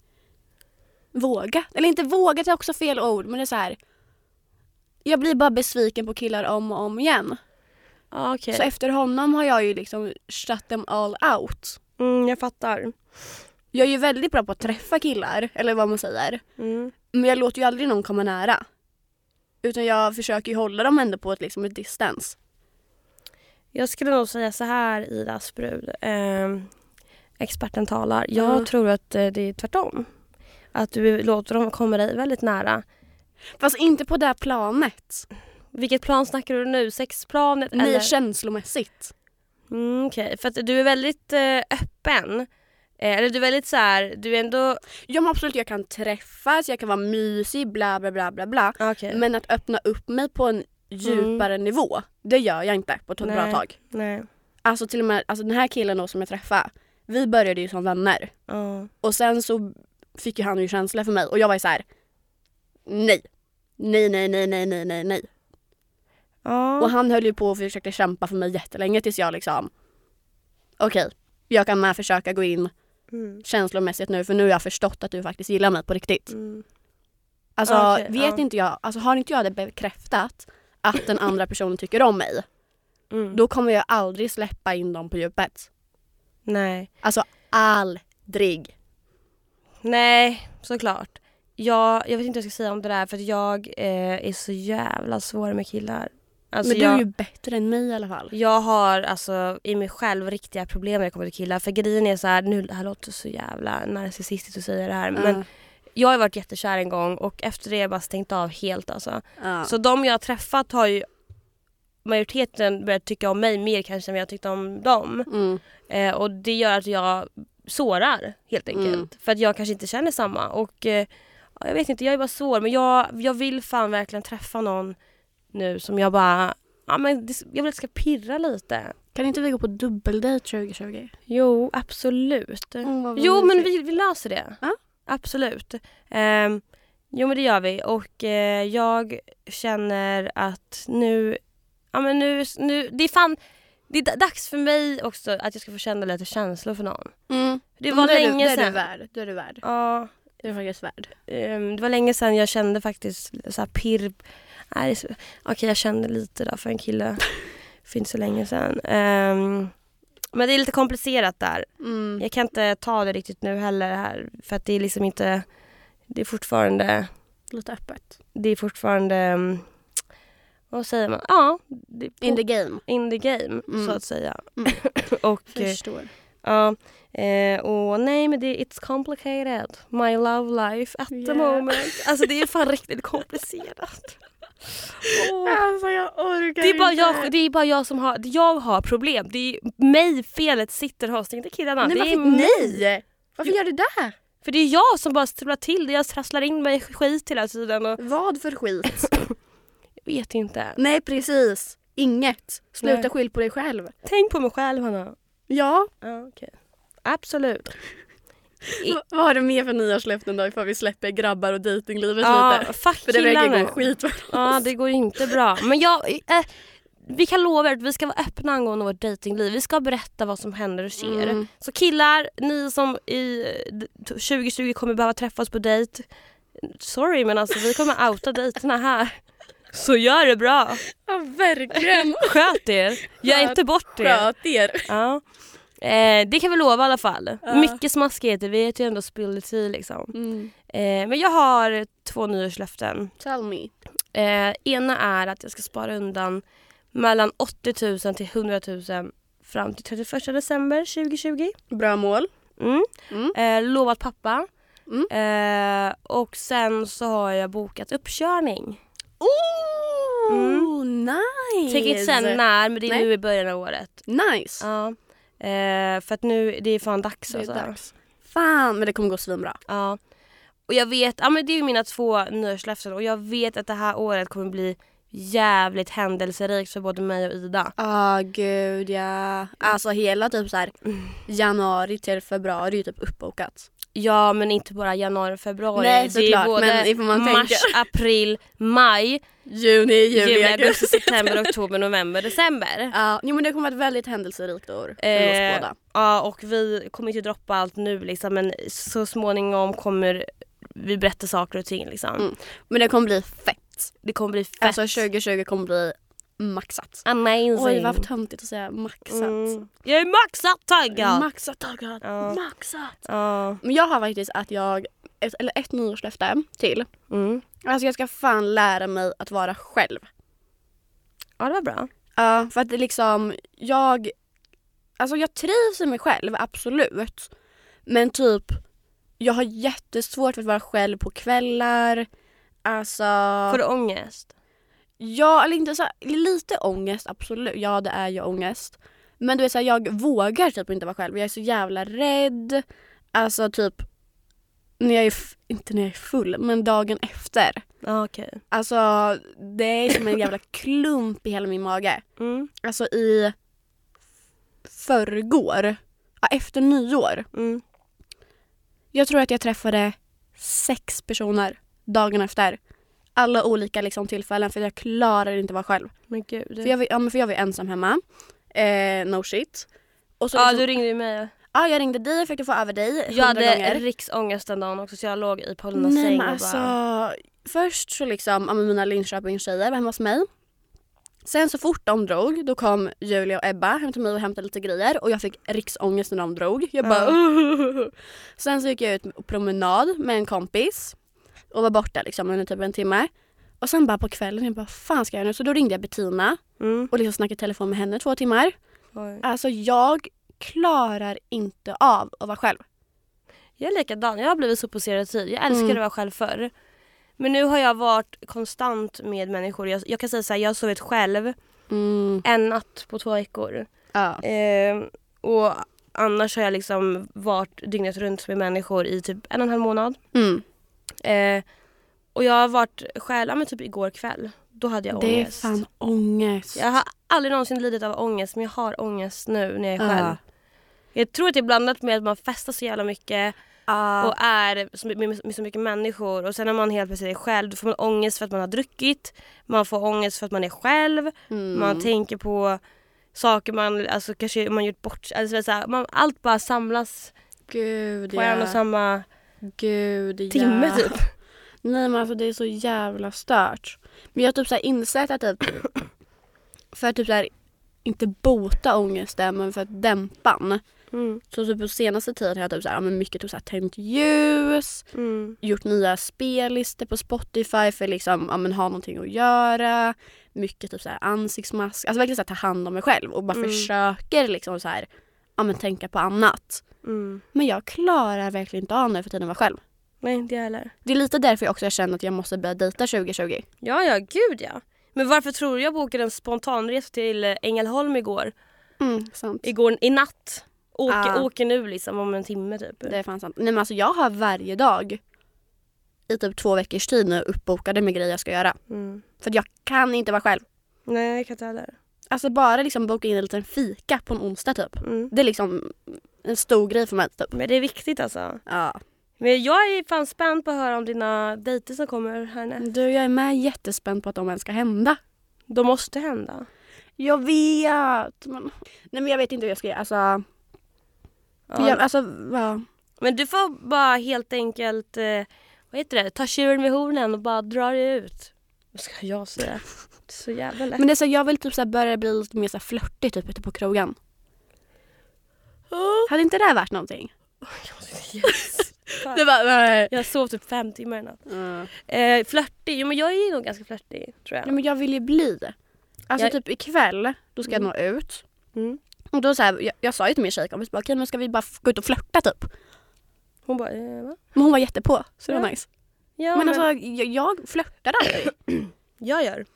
Speaker 2: vågat. Eller inte vågat är också fel ord, men det är så här. Jag blir bara besviken på killar om och om igen.
Speaker 1: Ja, okej.
Speaker 2: Så efter honom har jag ju liksom shut them all out.
Speaker 1: Mm, jag fattar.
Speaker 2: Jag är ju väldigt bra på att träffa killar, eller vad man säger.
Speaker 1: Mm.
Speaker 2: Men jag låter ju aldrig någon komma nära. Utan jag försöker ju hålla dem ändå på ett, liksom, ett distans.
Speaker 1: Jag skulle nog säga så här Ida Asprud. Ehm, experten talar. Jag
Speaker 2: Ja.
Speaker 1: tror att eh, det är tvärtom. Att du låter dem komma dig väldigt nära.
Speaker 2: Fast inte på det här planet.
Speaker 1: Vilket plan snackar du nu? Sexplanet?
Speaker 2: Mer
Speaker 1: eller?
Speaker 2: känslomässigt.
Speaker 1: Mm, Okej, för att du är väldigt eh, öppen. Eh, eller du är väldigt så här, du är ändå...
Speaker 2: Ja men absolut, jag kan träffas, jag kan vara mysig, bla bla bla bla bla.
Speaker 1: Okej.
Speaker 2: Men att öppna upp mig på en djupare nivå, det gör jag inte på ett
Speaker 1: Mm. Nej.
Speaker 2: bra tag.
Speaker 1: Nej.
Speaker 2: Alltså till och med alltså, den här killen då som jag träffade, vi började ju som vänner.
Speaker 1: Ja.
Speaker 2: Och sen så fick ju han ju känsla för mig och jag var ju så här. Nej. Nej, nej, nej, nej, nej, nej, nej.
Speaker 1: Ja.
Speaker 2: Och han höll ju på och försökte kämpa för mig jättelänge tills jag liksom Okej, jag kan med försöka gå in
Speaker 1: Mm.
Speaker 2: känslomässigt nu för nu har jag förstått att du faktiskt gillar mig på riktigt.
Speaker 1: Mm.
Speaker 2: Alltså
Speaker 1: Ja, okej,
Speaker 2: vet
Speaker 1: ja.
Speaker 2: inte jag, alltså har inte jag det bekräftat att den andra personen tycker om mig
Speaker 1: Mm.
Speaker 2: då kommer jag aldrig släppa in dem på djupet.
Speaker 1: Nej.
Speaker 2: Alltså aldrig.
Speaker 1: Nej, såklart. Jag, jag vet inte vad jag ska säga om det där för att jag eh, är så jävla svår med killar. Alltså
Speaker 2: Men du
Speaker 1: jag,
Speaker 2: är ju bättre än mig i alla fall.
Speaker 1: jag har alltså i mig själv riktiga problem när det kommer till killar. För grejen är så här, nu det här låter så jävla narcissistiskt att säga det här men
Speaker 2: Ja.
Speaker 1: jag har ju varit jättekär en gång och efter det har jag bara stängt av helt alltså.
Speaker 2: Ja.
Speaker 1: Så de jag har träffat har ju majoriteten börjat tycka om mig mer kanske än vad jag tyckte om dem.
Speaker 2: Mm.
Speaker 1: Eh, och det gör att jag sårar helt enkelt.
Speaker 2: Mm.
Speaker 1: För att jag kanske inte känner samma. Och eh, ja, jag vet inte, jag är bara svår. Men jag, jag vill fan verkligen träffa någon nu som jag bara, ja men det, jag vill att det ska pirra lite.
Speaker 2: Kan inte vi gå på dubbeldejt 2020?
Speaker 1: Jo, absolut.
Speaker 2: Mm,
Speaker 1: Jo men vi, vi löser det.
Speaker 2: Ja.
Speaker 1: Absolut. Ehm, jo men det gör vi och eh, jag känner att nu, ja men nu, nu, det är fan, det är d- dags för mig också att jag ska få känna lite känslor för någon.
Speaker 2: Mm.
Speaker 1: Det var länge
Speaker 2: du, Det är du
Speaker 1: sedan.
Speaker 2: värd. Det är du värd.
Speaker 1: Ja,
Speaker 2: Det är du faktiskt värd.
Speaker 1: ehm, det var länge sedan jag kände faktiskt så här pirr, nej, det är så- okej jag kände lite då för en kille, för inte så länge sedan. Ehm, men det är lite komplicerat där.
Speaker 2: Mm.
Speaker 1: Jag kan inte ta det riktigt nu heller här för att det är liksom inte, det är fortfarande,
Speaker 2: Lite öppet.
Speaker 1: det är fortfarande, mm, vad säger man, ja, det, är på-
Speaker 2: In the game.
Speaker 1: in the game
Speaker 2: Mm.
Speaker 1: så att säga.
Speaker 2: Mm.
Speaker 1: och eh,
Speaker 2: Förstår.
Speaker 1: ja, eh, och nej men det, it's complicated, my love life at the
Speaker 2: Yeah.
Speaker 1: moment. Alltså det är fan riktigt komplicerat. Åh.
Speaker 2: Alltså jag orkar
Speaker 1: Det är, bara
Speaker 2: inte.
Speaker 1: jag, det är bara jag som har, jag har problem. Det är mig felet sitter hos, inte killarna.
Speaker 2: Nej,
Speaker 1: det är
Speaker 2: varför
Speaker 1: mig.
Speaker 2: nej? Varför gör du det?
Speaker 1: För det är jag som bara strular till det. Jag trasslar in mig i skit hela tiden och
Speaker 2: Vad för skit?
Speaker 1: jag vet inte.
Speaker 2: nej precis. Inget. Sluta
Speaker 1: Nej.
Speaker 2: skyll på dig själv.
Speaker 1: Tänk på mig själv Hanna.
Speaker 2: Ja.
Speaker 1: Ja, okej. Absolut. I-
Speaker 2: V- vad har du mer för nyårslöften då ifall vi släpper grabbar och dejtinglivet
Speaker 1: Ja,
Speaker 2: lite?
Speaker 1: fuck
Speaker 2: För det verkar
Speaker 1: killarna.
Speaker 2: gå skit för
Speaker 1: Ja, det går ju inte bra. Men jag, eh, vi kan lova er att vi ska vara öppna angående vårt dejtingliv. Vi ska berätta vad som händer och sker.
Speaker 2: Mm.
Speaker 1: Så killar, ni som i eh, d- 2020 kommer behöva träffas på dejt. Sorry men alltså vi kommer outa dejterna här. Så gör det bra.
Speaker 2: Ja verkligen.
Speaker 1: Sköt er. Gör inte bort er.
Speaker 2: Sköt er.
Speaker 1: Ja. Eh, det kan vi lova i alla fall.
Speaker 2: Ja.
Speaker 1: Mycket smaskigheter, vi vet ju ändå spilld tea liksom.
Speaker 2: Mm.
Speaker 1: Eh, men jag har två nyårslöften.
Speaker 2: Tell me.
Speaker 1: Eh, ena är att jag ska spara undan mellan 80 000 till 100 000 fram till 31 december 2020.
Speaker 2: Bra mål.
Speaker 1: Mm.
Speaker 2: Mm.
Speaker 1: Eh, lovat pappa.
Speaker 2: Mm.
Speaker 1: Eh, och sen så har jag bokat uppkörning.
Speaker 2: Oh,
Speaker 1: Mm.
Speaker 2: nice!
Speaker 1: Tänker inte säga när men det är
Speaker 2: Nej.
Speaker 1: nu i början av året.
Speaker 2: Nice!
Speaker 1: Ja. Eh, för att nu, det är fan dags
Speaker 2: Det är
Speaker 1: alltså.
Speaker 2: dags. Fan, men det kommer gå svinbra.
Speaker 1: Ja. Och jag vet, ja men det är ju mina två nyårslöften och jag vet att det här året kommer bli jävligt händelserikt för både mig och Ida.
Speaker 2: Ja, gud ja. Alltså hela typ så här januari till februari är ju typ uppbokat.
Speaker 1: Ja men inte bara januari och februari.
Speaker 2: Nej,
Speaker 1: det är
Speaker 2: såklart,
Speaker 1: både
Speaker 2: men det får man
Speaker 1: mars,
Speaker 2: tänka.
Speaker 1: april, maj,
Speaker 2: Juni, juli,
Speaker 1: juli,
Speaker 2: augusti.
Speaker 1: augusti, september, oktober, november, december.
Speaker 2: Ja, jo men det kommer vara ett väldigt händelserikt år för
Speaker 1: Eh,
Speaker 2: oss båda.
Speaker 1: Ja och vi kommer inte droppa allt nu liksom men så småningom kommer vi berätta saker och ting liksom.
Speaker 2: Mm. Men det kommer bli fett.
Speaker 1: Det kommer bli fett.
Speaker 2: Alltså 2020 kommer bli maxat.
Speaker 1: Amazing.
Speaker 2: Oj vad töntigt att säga maxat.
Speaker 1: Mm. Jag är maxat taggad.
Speaker 2: Maxat taggad.
Speaker 1: Ja.
Speaker 2: Maxat.
Speaker 1: Ja.
Speaker 2: Men jag har faktiskt att jag, ett, eller ett nyårslöfte till.
Speaker 1: Mm.
Speaker 2: Alltså jag ska fan lära mig att vara själv.
Speaker 1: Ja det var bra.
Speaker 2: Ja, för att det liksom, jag... Alltså jag trivs i mig själv, absolut. Men typ, jag har jättesvårt för att vara själv på kvällar. Alltså...
Speaker 1: Får du ångest?
Speaker 2: Ja, eller inte så lite ångest absolut. Ja, det är ju ångest. Men du vet så här, jag vågar typ inte vara själv. Jag är så jävla rädd. Alltså typ när jag är f- inte när jag är full, men dagen efter.
Speaker 1: Ja okej.
Speaker 2: Alltså det är som en jävla klump i hela min mage.
Speaker 1: Mm,
Speaker 2: Alltså i förrgår, ja, efter nyår.
Speaker 1: mm.
Speaker 2: Jag tror att jag träffade sex personer dagen efter. Alla olika liksom, tillfällen för jag klarar inte att vara själv.
Speaker 1: Men gud.
Speaker 2: För jag, var- ja, men för jag var ensam hemma. Eh, no shit. Och så
Speaker 1: ja
Speaker 2: liksom,
Speaker 1: du ringde ju mig.
Speaker 2: ja, jag ringde dig och försökte få över dig
Speaker 1: Jag
Speaker 2: hundra
Speaker 1: hade
Speaker 2: gånger.
Speaker 1: riksångest den dagen också så jag låg i Paulinas
Speaker 2: Nej
Speaker 1: säng
Speaker 2: men
Speaker 1: och
Speaker 2: alltså.
Speaker 1: bara...
Speaker 2: Först så liksom, ja, men mina Linköpingstjejer var hemma hos mig. Sen så fort de drog då kom Julia och Ebba hem till mig och hämtade lite grejer och jag fick riksångest när de drog. Jag bara
Speaker 1: Ja.
Speaker 2: "Åh." Sen så gick jag ut på promenad med en kompis och var borta liksom under typ en timme. Och sen bara på kvällen, jag bara fan ska jag göra nu? Så då ringde jag Bettina
Speaker 1: Mm.
Speaker 2: och liksom snackade i telefon med henne två timmar. Alltså jag klarar inte av att vara själv.
Speaker 1: Jag är likadan, jag har blivit så på tid. Jag älskade
Speaker 2: Mm.
Speaker 1: att vara själv förr. Men nu har jag varit konstant med människor. Jag, jag kan säga så här, jag har sovit själv en natt på två veckor.
Speaker 2: Ja.
Speaker 1: Eh, och annars har jag liksom varit dygnet runt med människor i typ en och en halv månad.
Speaker 2: Mm.
Speaker 1: Eh, och jag har varit själv, ja, men typ igår kväll. Då hade jag
Speaker 2: Det är
Speaker 1: ångest.
Speaker 2: fan ångest.
Speaker 1: Jag har aldrig någonsin lidit av ångest men jag har ångest nu när jag är
Speaker 2: Ja.
Speaker 1: själv. Jag tror att det är blandat med att man festar så jävla mycket
Speaker 2: Ja.
Speaker 1: och är så- med, med så mycket människor och sen när man helt plötsligt är själv då får man ångest för att man har druckit, man får ångest för att man är själv,
Speaker 2: Mm.
Speaker 1: man tänker på saker man, alltså kanske man gjort bort alltså, det är så här, man, Allt bara samlas
Speaker 2: Gud
Speaker 1: på en och samma
Speaker 2: Gud ja.
Speaker 1: timme typ.
Speaker 2: Nej men alltså det är så jävla stört. Men jag har typ så här insett att typ för att typ så här inte bota ångesten men för att dämpa den.
Speaker 1: Mm,
Speaker 2: Så typ på senaste tiden har jag typ så här, ja, men mycket typ så här, tänt ljus,
Speaker 1: mm,
Speaker 2: gjort nya spellistor på Spotify för liksom ja, men ha någonting att göra. Mycket typ så här ansiktsmask, alltså verkligen så här, ta hand om mig själv och bara
Speaker 1: Mm.
Speaker 2: försöker liksom så här ja men tänka på annat.
Speaker 1: mm.
Speaker 2: Men jag klarar verkligen inte av nu för tiden att vara själv.
Speaker 1: Nej inte jag heller.
Speaker 2: Det är lite därför jag också känner att jag måste börja dejta 2020.
Speaker 1: Ja, ja, gud ja. Men varför tror du jag bokade en spontanresa till eh, Ängelholm igår?
Speaker 2: Mm, sant.
Speaker 1: Igår i natt. Åker,
Speaker 2: Ah.
Speaker 1: åker nu liksom om en timme typ.
Speaker 2: Det är fan sant. Nej men alltså jag har varje dag i typ två veckors tid nu uppbokade med grejer jag ska göra.
Speaker 1: Mm.
Speaker 2: För att jag kan inte vara själv.
Speaker 1: Nej, jag kan inte heller.
Speaker 2: Alltså bara liksom boka in en liten fika på en onsdag typ.
Speaker 1: Mm.
Speaker 2: Det är liksom en stor grej för mig typ.
Speaker 1: Men det är viktigt alltså.
Speaker 2: Ja.
Speaker 1: Men jag är fan spänd på att höra om dina dejter som kommer härnäst.
Speaker 2: Du jag är med jättespänd på att de ens ska hända.
Speaker 1: De måste hända.
Speaker 2: Jag vet! Men... Nej men jag vet inte hur jag ska göra. Alltså,
Speaker 1: Ja.
Speaker 2: jag, alltså ja.
Speaker 1: Men du får bara helt enkelt, eh, vad heter det, ta tjuren vid hornen och bara dra dig ut. Vad ska jag säga? Det är så jävla lätt.
Speaker 2: Men det är så, jag vill typ så här börja bli lite mer så här flörtig typ ute på krogen. Hade inte det här varit någonting?
Speaker 1: Yes. Fan.
Speaker 2: var nej.
Speaker 1: Jag sov typ fem timmar i natt.
Speaker 2: Mm.
Speaker 1: Eh, flörtig? Jo men jag är nog ganska flörtig tror jag.
Speaker 2: Nej, men jag vill ju bli. Alltså
Speaker 1: Jag-
Speaker 2: typ ikväll, då ska
Speaker 1: Mm.
Speaker 2: jag nå ut.
Speaker 1: Mm.
Speaker 2: Och då så här, jag, jag sa ju till min tjejkompis bara okej men ska vi bara f- gå ut och flörta typ.
Speaker 1: Hon bara, eh, va?
Speaker 2: Men hon var jättepå så det var
Speaker 1: Ja.
Speaker 2: nice.
Speaker 1: Ja,
Speaker 2: men, alltså jag, jag flörtade aldrig.
Speaker 1: jag gör.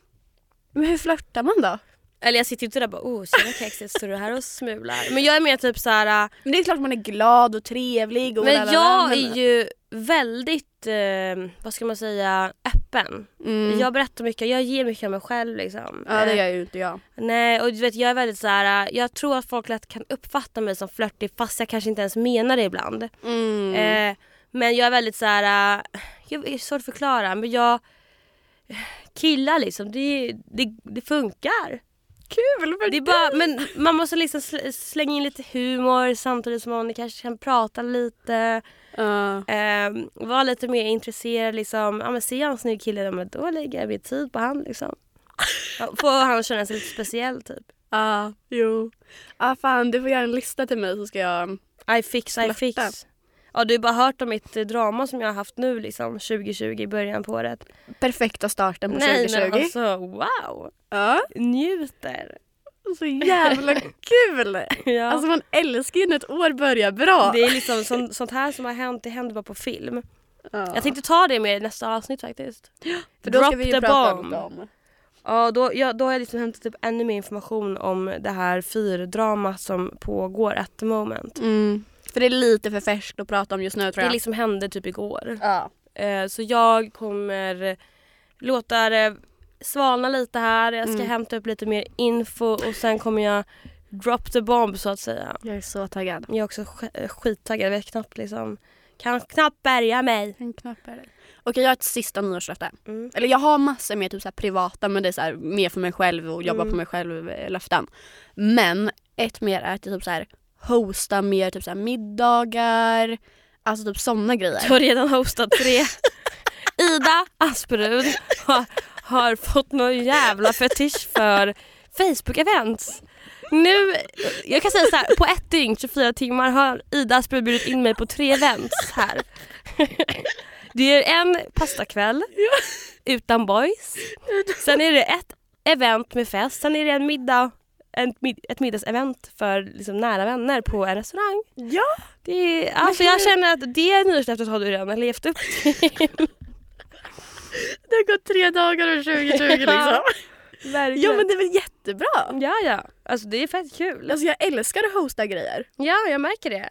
Speaker 2: men hur flörtar man då?
Speaker 1: Eller jag sitter ju inte där och bara, oh tjena kexet, står du här och smular? Men jag är mer typ så här.
Speaker 2: Men det är klart man är glad och trevlig och
Speaker 1: men
Speaker 2: lalala,
Speaker 1: jag
Speaker 2: men-
Speaker 1: är ju väldigt, eh, vad ska man säga, öppen.
Speaker 2: Mm.
Speaker 1: Jag berättar mycket, jag ger mycket av mig själv liksom.
Speaker 2: Ja det
Speaker 1: Eh,
Speaker 2: gör ju inte jag.
Speaker 1: Nej och du vet jag är väldigt så här. eh, jag tror att folk lätt kan uppfatta mig som flörtig fast jag kanske inte ens menar det ibland.
Speaker 2: Mm.
Speaker 1: Eh, men jag är väldigt så här. eh, jag är svårt att förklara men jag killar liksom, det, det, det funkar.
Speaker 2: Kul för
Speaker 1: Det är bara, men man måste liksom sl- slänga in lite humor samtidigt som man kanske kan prata lite.
Speaker 2: Ja.
Speaker 1: ehm, vara lite mer intresserad liksom. Ja men ser jag en snygg kille, ja, men då lägger jag mer tid på han liksom. Ja, Får han känna sig lite speciell typ.
Speaker 2: Ja, jo. Ja fan du får göra en lista till mig så ska jag...
Speaker 1: I fix, I
Speaker 2: Flörta.
Speaker 1: fix. Ja du har bara hört om mitt eh, drama som jag har haft nu liksom 2020 i början på året.
Speaker 2: Perfekta starten på
Speaker 1: Nej
Speaker 2: 2020.
Speaker 1: men alltså wow!
Speaker 2: Ja.
Speaker 1: Njuter!
Speaker 2: Så jävla kul!
Speaker 1: Ja.
Speaker 2: Alltså man älskar ju när ett år börjar bra.
Speaker 1: det är liksom sånt, sånt här som har hänt, det händer bara på film.
Speaker 2: Ja.
Speaker 1: Jag tänkte ta det med i nästa avsnitt faktiskt.
Speaker 2: För då ska
Speaker 1: Drop
Speaker 2: vi
Speaker 1: the
Speaker 2: ju prata
Speaker 1: bomb.
Speaker 2: om dem.
Speaker 1: Ja, då, ja, då har jag liksom hämtat upp ännu mer information om det här fyrdramat som pågår at the moment.
Speaker 2: Mm. För det är lite för färskt att prata om just nu tror
Speaker 1: Det
Speaker 2: jag.
Speaker 1: liksom hände typ igår.
Speaker 2: ja.
Speaker 1: Eh, så jag kommer låta det svalna lite här. Jag ska
Speaker 2: Mm.
Speaker 1: hämta upp lite mer info och sen kommer jag drop the bomb så att säga.
Speaker 2: Jag är så taggad.
Speaker 1: Jag är också sk- eh, skittaggad. Jag vet knappt liksom. Kan knappt bärga mig.
Speaker 2: En knapp är det. Okej jag har ett sista nyårslöfte.
Speaker 1: Mm.
Speaker 2: Eller jag har massor med typ så här privata men det är så här mer för mig själv och jobba
Speaker 1: Mm.
Speaker 2: på mig själv eh, löften. Men ett mer är att typ så här hosta mer typ så här middagar. Alltså typ sådana grejer.
Speaker 1: Jag har redan hostat tre. Ida Asperud har, har fått någon jävla fetisch för Facebook-events. Nu, jag kan säga så här, på ett dygn, 24 timmar har Ida Asplund bjudit in mig på tre events här. Det är en pastakväll utan boys. Sen är det ett event med fest, sen är det en middag, en, mid- ett middagsevent för liksom nära vänner på en restaurang.
Speaker 2: Ja!
Speaker 1: Det är, alltså jag känner att det nyårslöftet har du redan levt upp till.
Speaker 2: Det har gått tre dagar och 2020 liksom.
Speaker 1: Ja, Verkligen.
Speaker 2: ja men det är väl jättebra?
Speaker 1: Ja, ja. Alltså det är fett kul.
Speaker 2: Alltså jag älskar att hosta grejer.
Speaker 1: Ja, jag märker det.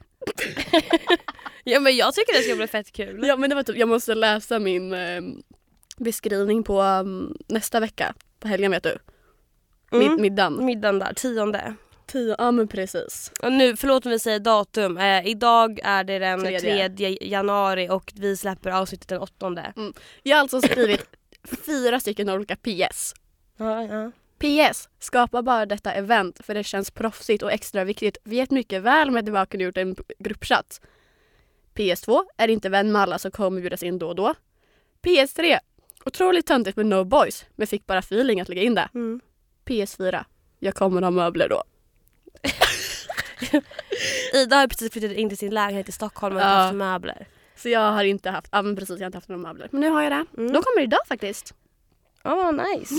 Speaker 1: ja, men jag tycker det ska bli fett kul.
Speaker 2: Ja men det var typ, jag måste läsa min eh, beskrivning på um, nästa vecka. På helgen vet du. Mid-
Speaker 1: Mm.
Speaker 2: Middagen.
Speaker 1: Middagen där, tionde.
Speaker 2: Tio, ja men precis.
Speaker 1: Och nu, förlåt om vi säger datum. Eh, idag är det den
Speaker 2: Tredje.
Speaker 1: 3 januari och vi släpper avsnittet den åttonde.
Speaker 2: Jag har alltså skrivit fyra stycken olika PS.
Speaker 1: Ja, ja.
Speaker 2: PS. Skapa bara detta event för det känns proffsigt och extra viktigt. Vet mycket väl med att du bara kunde gjort en gruppchatt. PS2. Är inte vän med alla som kommer bjudas in då och då. PS3. Otroligt töntigt med No Boys, men fick bara feeling att lägga in det.
Speaker 1: Mm.
Speaker 2: PS4. Jag kommer ha möbler då.
Speaker 1: Ida har precis flyttat in till sin lägenhet i Stockholm och
Speaker 2: Ja.
Speaker 1: haft möbler.
Speaker 2: Så jag har inte haft, ja men precis jag har inte haft några möbler. Men nu har jag det.
Speaker 1: Mm.
Speaker 2: De kommer idag faktiskt.
Speaker 1: Ja, vad nice.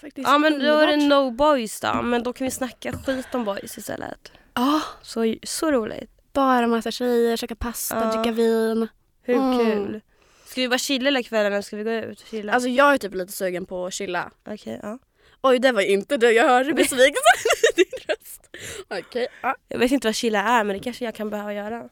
Speaker 2: faktiskt
Speaker 1: Ja, men då är det
Speaker 2: underbart.
Speaker 1: no boys då. Men då kan vi snacka skit om boys istället.
Speaker 2: Ja,
Speaker 1: Så, så roligt.
Speaker 2: bara massa tjejer, käka pasta,
Speaker 1: Ja.
Speaker 2: dricka vin.
Speaker 1: Hur
Speaker 2: Mm.
Speaker 1: kul? Ska vi bara chilla hela kvällen eller ska vi gå ut och chilla?
Speaker 2: Alltså jag är typ lite sugen på att chilla.
Speaker 1: Okej, ja.
Speaker 2: Oj, det var ju inte du. Jag hörde besvikelsen i din röst. Okej. ja.
Speaker 1: Jag vet inte vad chilla är men det kanske jag kan behöva göra.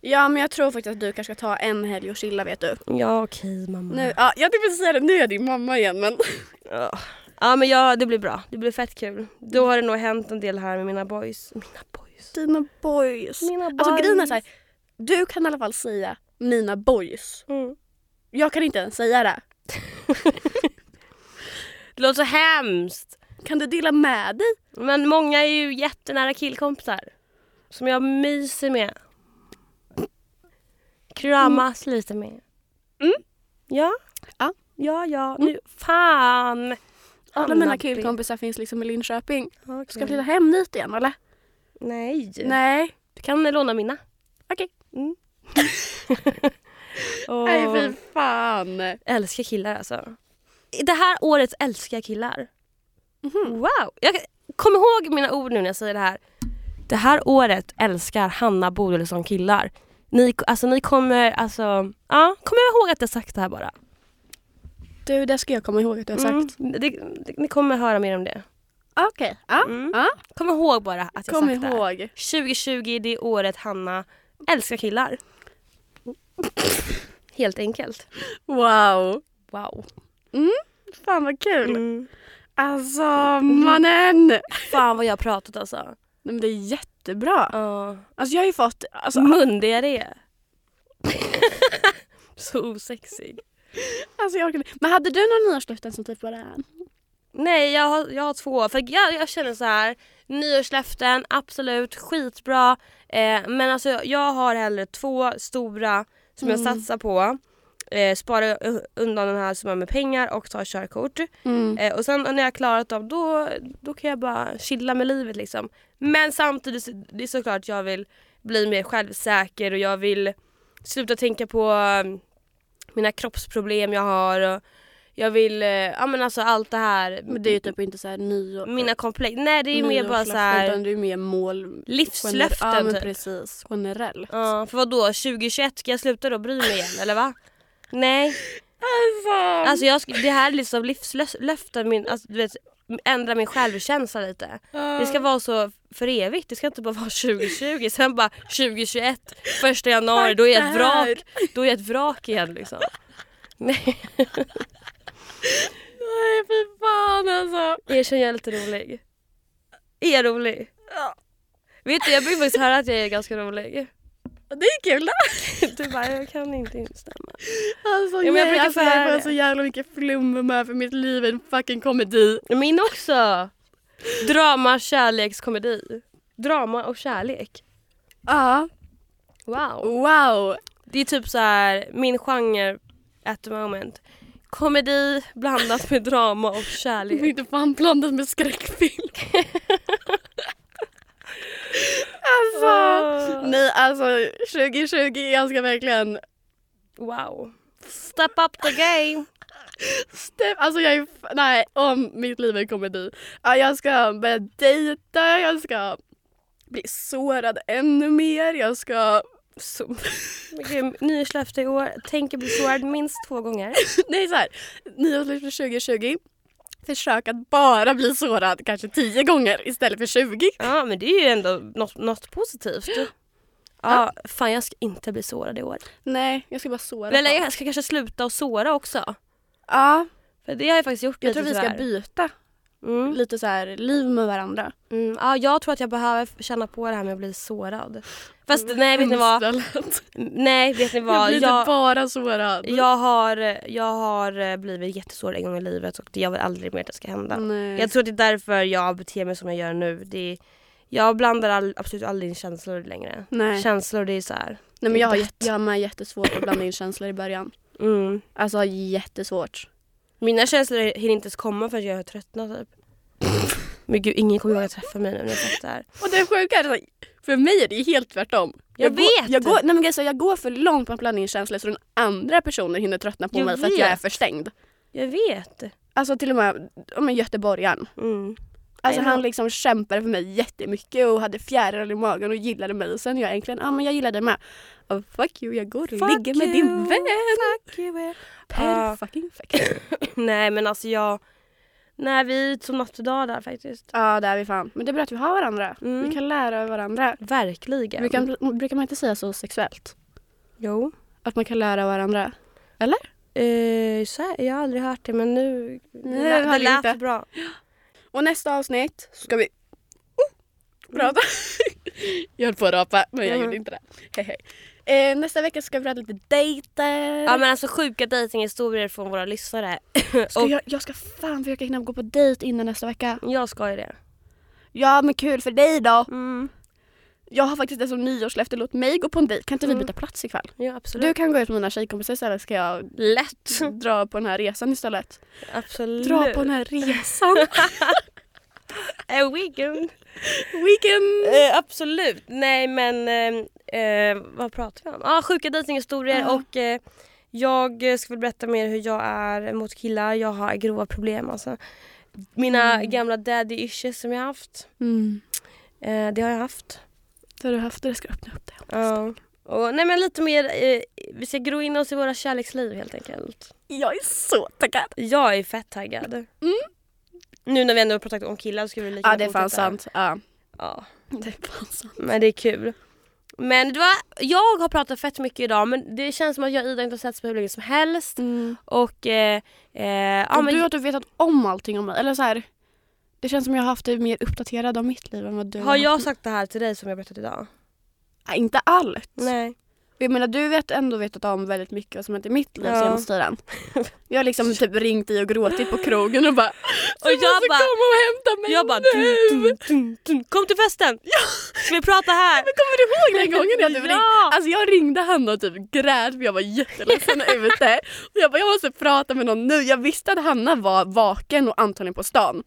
Speaker 2: Ja, men jag tror faktiskt att du kanske ska ta en helg och chilla, vet du.
Speaker 1: Ja okej mamma.
Speaker 2: Nu, ja, jag tänkte precis säga det, nu är jag din mamma igen, men...
Speaker 1: Ja. ja men ja, det blir bra, det blir fett kul. Då har det nog hänt en del här med mina boys. Mina boys.
Speaker 2: Dina boys.
Speaker 1: Mina
Speaker 2: Alltså grejen är så här, du kan i alla fall säga mina boys.
Speaker 1: Mm.
Speaker 2: Jag kan inte ens säga det.
Speaker 1: Det låter så hemskt.
Speaker 2: Kan du dela med dig?
Speaker 1: Men många är ju jättenära killkompisar. Som jag myser med. Kramas lite med. Ja.
Speaker 2: Mm. Ja. Mm.
Speaker 1: Ja, ja. Nu, fan.
Speaker 2: Alla Mm.
Speaker 1: Hamnar
Speaker 2: mina
Speaker 1: B.
Speaker 2: killkompisar finns liksom i Linköping.
Speaker 1: Okej.
Speaker 2: Ska jag flytta hem dit igen, eller?
Speaker 1: Nej.
Speaker 2: Nej.
Speaker 1: Du kan låna mina.
Speaker 2: Okej.
Speaker 1: Mm. Åh,
Speaker 2: Nej, fy fan.
Speaker 1: Älskar killar alltså. Det här året älskar jag killar.
Speaker 2: Mhm.
Speaker 1: Wow! Jag, kom ihåg mina ord nu när jag säger det här. Det här året älskar Hanna Bodilsson killar. Ni, alltså, ni kommer, alltså, ja, kom ihåg att jag sagt det här bara.
Speaker 2: Du, det ska jag komma ihåg att du har sagt.
Speaker 1: Mm, det, det, ni kommer höra mer om det.
Speaker 2: Okej. Ja.
Speaker 1: Mm.
Speaker 2: ja.
Speaker 1: Kom ihåg bara att jag
Speaker 2: Kom
Speaker 1: sagt det här.
Speaker 2: ihåg.
Speaker 1: 2020, det är året Hanna älskar killar. Helt enkelt.
Speaker 2: Wow. Mm.
Speaker 1: Wow.
Speaker 2: Fan vad kul.
Speaker 1: Mm.
Speaker 2: Alltså mannen! Nej,
Speaker 1: Fan vad jag har pratat alltså.
Speaker 2: men det är jättebra.
Speaker 1: Ja.
Speaker 2: Alltså jag har ju fått, alltså,
Speaker 1: Mundiarré. Så osexig.
Speaker 2: alltså jag orkar inte. Men hade du några nyårslöften som typ var det här?
Speaker 1: Nej jag har, jag har två. För jag, jag känner så här. nyårslöften absolut skitbra. Eh, men alltså jag har hellre två stora som jag satsar på. Eh, spara eh, undan den här summan med pengar och ta körkort.
Speaker 2: Mm.
Speaker 1: Eh, och sen när jag har klarat dem då, då kan jag bara chilla med livet liksom. Men samtidigt så- det är såklart jag vill bli mer självsäker och jag vill sluta tänka på eh, mina kroppsproblem jag har och jag vill, eh, ja men alltså allt det här.
Speaker 2: Men det är ju typ inte såhär nyår...
Speaker 1: Mina komplex. Nej det är ju mer bara
Speaker 2: nyårslöften,
Speaker 1: så här
Speaker 2: Utan det är ju mer mål...
Speaker 1: livslöften
Speaker 2: Ja men
Speaker 1: typ.
Speaker 2: precis, generellt.
Speaker 1: Ja, för vadå 2021 ska jag sluta då bry mig igen eller va? Nej.
Speaker 2: Alltså,
Speaker 1: Alltså jag, sk- det här är liksom livslöften, min, alltså, du vet, ändra min självkänsla lite. Det ska vara så för evigt, det ska inte bara vara 2020 sen bara 2021, första januari, då är jag ett vrak, då är jag ett vrak igen liksom. Nej,
Speaker 2: Nej fy fan alltså.
Speaker 1: erkänn jag är lite rolig. Är jag rolig?
Speaker 2: Ja.
Speaker 1: Vet du jag brukar faktiskt höra att jag är ganska rolig.
Speaker 2: Det är kul då.
Speaker 1: Du bara jag kan inte instämma.
Speaker 2: Alltså,
Speaker 1: Ja, men jag
Speaker 2: nej,
Speaker 1: brukar
Speaker 2: alltså,
Speaker 1: få
Speaker 2: jag
Speaker 1: höra
Speaker 2: får
Speaker 1: det.
Speaker 2: så jävla mycket flum med för mitt liv är en fucking komedi.
Speaker 1: Min också! Drama, kärlekskomedi. Drama och kärlek.
Speaker 2: Ja.
Speaker 1: Wow.
Speaker 2: Wow.
Speaker 1: Det är typ så här min genre at the moment. komedi blandat med drama och
Speaker 2: Det är
Speaker 1: kärlek.
Speaker 2: inte fan blandat med skräckfilm. alltså.
Speaker 1: Ah,
Speaker 2: Nej alltså 2020 jag ska verkligen
Speaker 1: Wow. Step up the game.
Speaker 2: Step, alltså jag är, f- nej om mitt liv är komedi. Ja, Jag ska börja dejta, jag ska bli sårad ännu mer, jag ska... Så,
Speaker 1: Grym. Nyårslöfte i år. Tänker bli sårad minst två gånger.
Speaker 2: nej såhär, nyårslöfte 2020. Försök att bara bli sårad kanske 10 gånger istället för 20.
Speaker 1: Ja men det är ju ändå något, något positivt. Ja, fan jag ska inte bli sårad i år.
Speaker 2: Nej, jag ska bara såra.
Speaker 1: Eller
Speaker 2: folk.
Speaker 1: jag ska kanske sluta att såra också.
Speaker 2: ja,
Speaker 1: För det har jag faktiskt gjort
Speaker 2: jag
Speaker 1: lite
Speaker 2: tror vi ska
Speaker 1: tyvärr.
Speaker 2: byta
Speaker 1: mm.
Speaker 2: lite så här liv med varandra.
Speaker 1: Mm. Ja, jag tror att jag behöver känna på det här med att bli sårad. Fast
Speaker 2: Mm.
Speaker 1: nej vet ni vad?
Speaker 2: Istället.
Speaker 1: Nej vet ni
Speaker 2: Jag
Speaker 1: vad?
Speaker 2: blir inte
Speaker 1: Mm. Jag,
Speaker 2: bara sårad.
Speaker 1: jag, har, jag har eh, blivit jättesårad en gång i livet och det- jag vill aldrig mer att det ska hända.
Speaker 2: Nej.
Speaker 1: Jag tror att det är därför jag beter mig som jag gör nu. Det är, jag blandar all, absolut aldrig in känslor längre.
Speaker 2: Nej.
Speaker 1: Känslor det är så här.
Speaker 2: Nej men jag har,
Speaker 1: Dött.
Speaker 2: jätte, jag har med jättesvårt att blanda in känslor i början.
Speaker 1: Mm.
Speaker 2: Alltså jättesvårt.
Speaker 1: Mina känslor hinner inte ens komma förrän jag har tröttnat typ. Men gud ingen kommer ihåg att träffa mig nu när jag satt där.
Speaker 2: Och det sjuka är att för mig är det helt tvärtom.
Speaker 1: Jag vet!
Speaker 2: Går, jag, går, nej men alltså, jag går för långt på att blanda in känslor så den andra personen hinner tröttna på
Speaker 1: Jag
Speaker 2: mig för att jag är
Speaker 1: vet.
Speaker 2: förstängd.
Speaker 1: Jag vet.
Speaker 2: Alltså till och med ja, men göteborgaren.
Speaker 1: Mm.
Speaker 2: Alltså
Speaker 1: I
Speaker 2: han
Speaker 1: know.
Speaker 2: liksom kämpade för mig jättemycket och hade fjärilar i magen och gillade mig. Och sen jag egentligen, ja ah, men jag gillade dig med. Oh, fuck you, jag går och
Speaker 1: Fuck
Speaker 2: ligger med din
Speaker 1: you.
Speaker 2: vän.
Speaker 1: Fuck you, eh.
Speaker 2: Per
Speaker 1: Ah.
Speaker 2: fucking fuck. Ja
Speaker 1: Nej men alltså jag... Nej vi är som natt och dag där faktiskt.
Speaker 2: det är vi fan. Men det är bra att vi har varandra.
Speaker 1: Mm.
Speaker 2: Vi kan lära av varandra.
Speaker 1: Verkligen.
Speaker 2: Brukar, brukar man inte säga så sexuellt?
Speaker 1: Jo.
Speaker 2: Att man kan lära varandra?
Speaker 1: Eh, så här, jag har aldrig hört det men nu...
Speaker 2: Nej,
Speaker 1: det, lä-
Speaker 2: det
Speaker 1: det
Speaker 2: hade jag
Speaker 1: lät
Speaker 2: inte.
Speaker 1: bra.
Speaker 2: Och nästa avsnitt ska vi... Oh, prata. jag höll på att rapa men jag
Speaker 1: Mm.
Speaker 2: gjorde inte det. Hehe. Eh, nästa vecka ska vi prata lite dejter.
Speaker 1: Ja men alltså sjuka dejtinghistorier från våra lyssnare.
Speaker 2: ska
Speaker 1: och-
Speaker 2: jag, jag ska fan försöka hinna gå på dejt innan nästa vecka.
Speaker 1: Jag ska ju det.
Speaker 2: Ja men kul för dig då.
Speaker 1: Mm.
Speaker 2: Jag har faktiskt det som nyårslöfte, låt mig gå på en dejt. Kan inte vi byta plats ikväll?
Speaker 1: Ja absolut.
Speaker 2: Mm. Du kan gå ut med mina tjejkompisar istället ska jag
Speaker 1: Lätt.
Speaker 2: dra på den här resan istället.
Speaker 1: Absolut.
Speaker 2: Dra på den här resan.
Speaker 1: A weekend.
Speaker 2: Weekend!
Speaker 1: Eh, absolut. Nej men eh, eh, vad pratar vi om? Ah, sjuka dejtinghistorier
Speaker 2: Ja.
Speaker 1: och eh, jag ska väl berätta mer hur jag är mot killar. Jag har grova problem alltså. Mina gamla daddy issues som jag haft.
Speaker 2: Mm.
Speaker 1: Eh, det har jag haft.
Speaker 2: Det har du haft det, jag ska öppna upp det.
Speaker 1: Ja. och, nej men lite mer, eh, vi ska gro in oss i våra kärleksliv helt enkelt.
Speaker 2: Jag är så taggad.
Speaker 1: Jag är fett taggad. Nu när vi ändå har pratat om killar så ska vi lika
Speaker 2: Mm. Ja det är
Speaker 1: gärna
Speaker 2: fan
Speaker 1: fortsätta.
Speaker 2: sant. Ja.
Speaker 1: Ja.
Speaker 2: Det är fan sant.
Speaker 1: Men det är kul. Men det var, jag har pratat fett mycket idag men det känns som att jag och Ida inte har setts på hur länge som helst.
Speaker 2: Mm.
Speaker 1: Och, eh, eh, ja,
Speaker 2: och
Speaker 1: men,
Speaker 2: du har typ vetat om allting om mig. Eller så här, det känns som jag har haft dig mer uppdaterad om mitt liv än vad du
Speaker 1: har jag
Speaker 2: haft.
Speaker 1: sagt det här till dig som jag berättat idag?
Speaker 2: Ja, inte allt.
Speaker 1: Nej.
Speaker 2: Jag menar du vet ändå vetat om väldigt mycket vad som hänt i mitt liv
Speaker 1: Ja.
Speaker 2: senaste tiden. Jag har liksom typ ringt dig och gråtit på krogen och bara
Speaker 1: Och
Speaker 2: Du
Speaker 1: jag
Speaker 2: måste
Speaker 1: bara,
Speaker 2: komma och hämta mig
Speaker 1: jag bara
Speaker 2: nu!
Speaker 1: dun, dun, dun, dun. kom till festen! Ska vi prata här?
Speaker 2: Kommer du ihåg den gången jag typ ringde?
Speaker 1: ja!
Speaker 2: Alltså jag ringde henne och typ grät för jag var jätteledsen ute. Och jag bara, jag måste prata med någon nu. Jag visste att Hanna var vaken och antagligen på stan.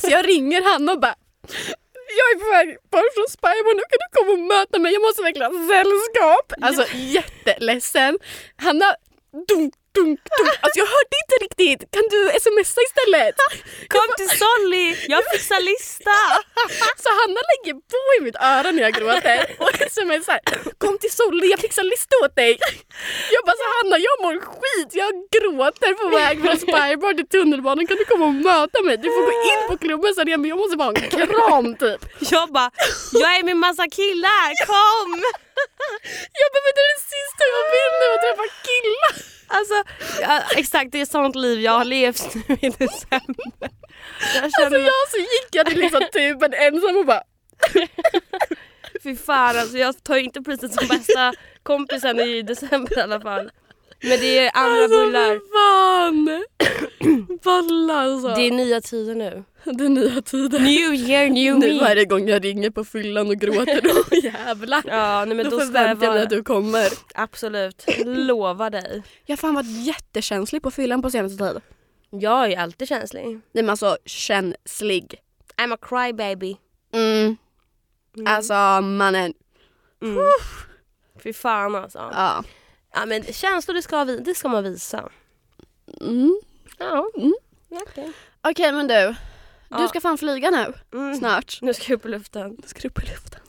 Speaker 2: Så jag ringer Hanna och bara, jag är på väg bort från Spybar nu, kan du komma och möta mig? Jag måste verkligen ha sällskap. Alltså jätteledsen. Hanna, dunk, dunk, dunk. Alltså jag hörde inte riktigt. Kan du smsa istället?
Speaker 1: Kom till Solly, jag fixar lista!
Speaker 2: Så Hanna lägger på i mitt öra när jag gråter och smsar “Kom till Solli, jag fixar lista åt dig”. Jag bara så “Hanna, jag mår skit, jag gråter på väg från Spybar till tunnelbanan, kan du komma och möta mig? Du får gå in på klubben sen igen men jag måste bara ha en kram typ”.
Speaker 1: Jag bara, jag är med massa killar, kom!
Speaker 2: Jag bara “Men det är det sista jag vill nu, att träffa killar”.
Speaker 1: Alltså, ja, exakt det är sånt liv jag har levt nu i december. Jag känner
Speaker 2: Så Alltså, jag så gick jag till liksom tuben ensam och bara
Speaker 1: Fy fan alltså jag tar ju inte priset som bästa kompisen i december i alla fall. Men det är andra
Speaker 2: “Alltså
Speaker 1: bullar.
Speaker 2: för fan!” Valla alltså.
Speaker 1: Det är nya tider nu.
Speaker 2: den nya tiden.
Speaker 1: New year, new
Speaker 2: Nu
Speaker 1: me.
Speaker 2: varje gång jag ringer på fyllan och gråter, då jävlar.
Speaker 1: Ja, nej, men
Speaker 2: Då,
Speaker 1: då, ska jag
Speaker 2: förväntar jag mig
Speaker 1: vara...
Speaker 2: att du kommer.
Speaker 1: Absolut. Lova dig.
Speaker 2: Jag har fan varit jättekänslig på fyllan på senaste tid.
Speaker 1: Jag är alltid känslig.
Speaker 2: Nej men alltså känslig.
Speaker 1: I'm a crybaby.
Speaker 2: Mm.
Speaker 1: Mm.
Speaker 2: Alltså mannen,
Speaker 1: Mm. Fy fan alltså.
Speaker 2: ja.
Speaker 1: Ja, men känslor det ska, vi, det ska man visa.
Speaker 2: Mm.
Speaker 1: Ja.
Speaker 2: Mm.
Speaker 1: Okej.
Speaker 2: Okej men du,
Speaker 1: Ja.
Speaker 2: du ska fan flyga nu
Speaker 1: Mm.
Speaker 2: snart.
Speaker 1: Nu ska jag upp i luften.
Speaker 2: Jag ska upp i luften.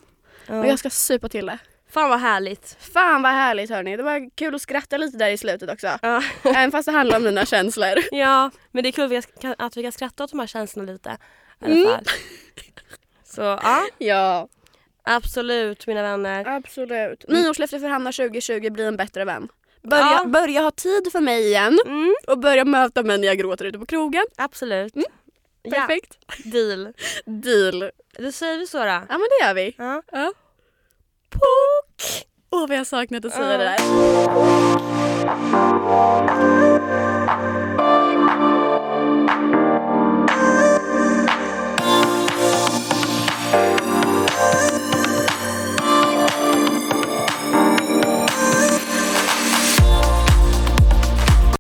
Speaker 1: Ja.
Speaker 2: Och jag ska supa till det.
Speaker 1: Fan vad härligt.
Speaker 2: Fan vad härligt hörni, det var kul att skratta lite där i slutet också.
Speaker 1: Ja.
Speaker 2: Även fast det handlar om mina känslor.
Speaker 1: ja, men det är kul att vi kan, att vi kan skratta åt de här känslorna lite. I alla
Speaker 2: Mm.
Speaker 1: fall. Så ja,
Speaker 2: Ja,
Speaker 1: absolut mina vänner.
Speaker 2: absolut. Nyårslöfte för Hanna 2020, bli en bättre vän. Börja,
Speaker 1: Ja.
Speaker 2: börja ha tid för mig igen
Speaker 1: Mm,
Speaker 2: och börja möta mig när jag gråter ute på krogen.
Speaker 1: absolut. Ja,
Speaker 2: Mm. Perfekt.
Speaker 1: deal.
Speaker 2: Deal.
Speaker 1: Då säger vi så då.
Speaker 2: Ja men det gör vi.
Speaker 1: Ja.
Speaker 2: Pok! Åh vad jag saknat att säga
Speaker 1: Ja.
Speaker 2: det där.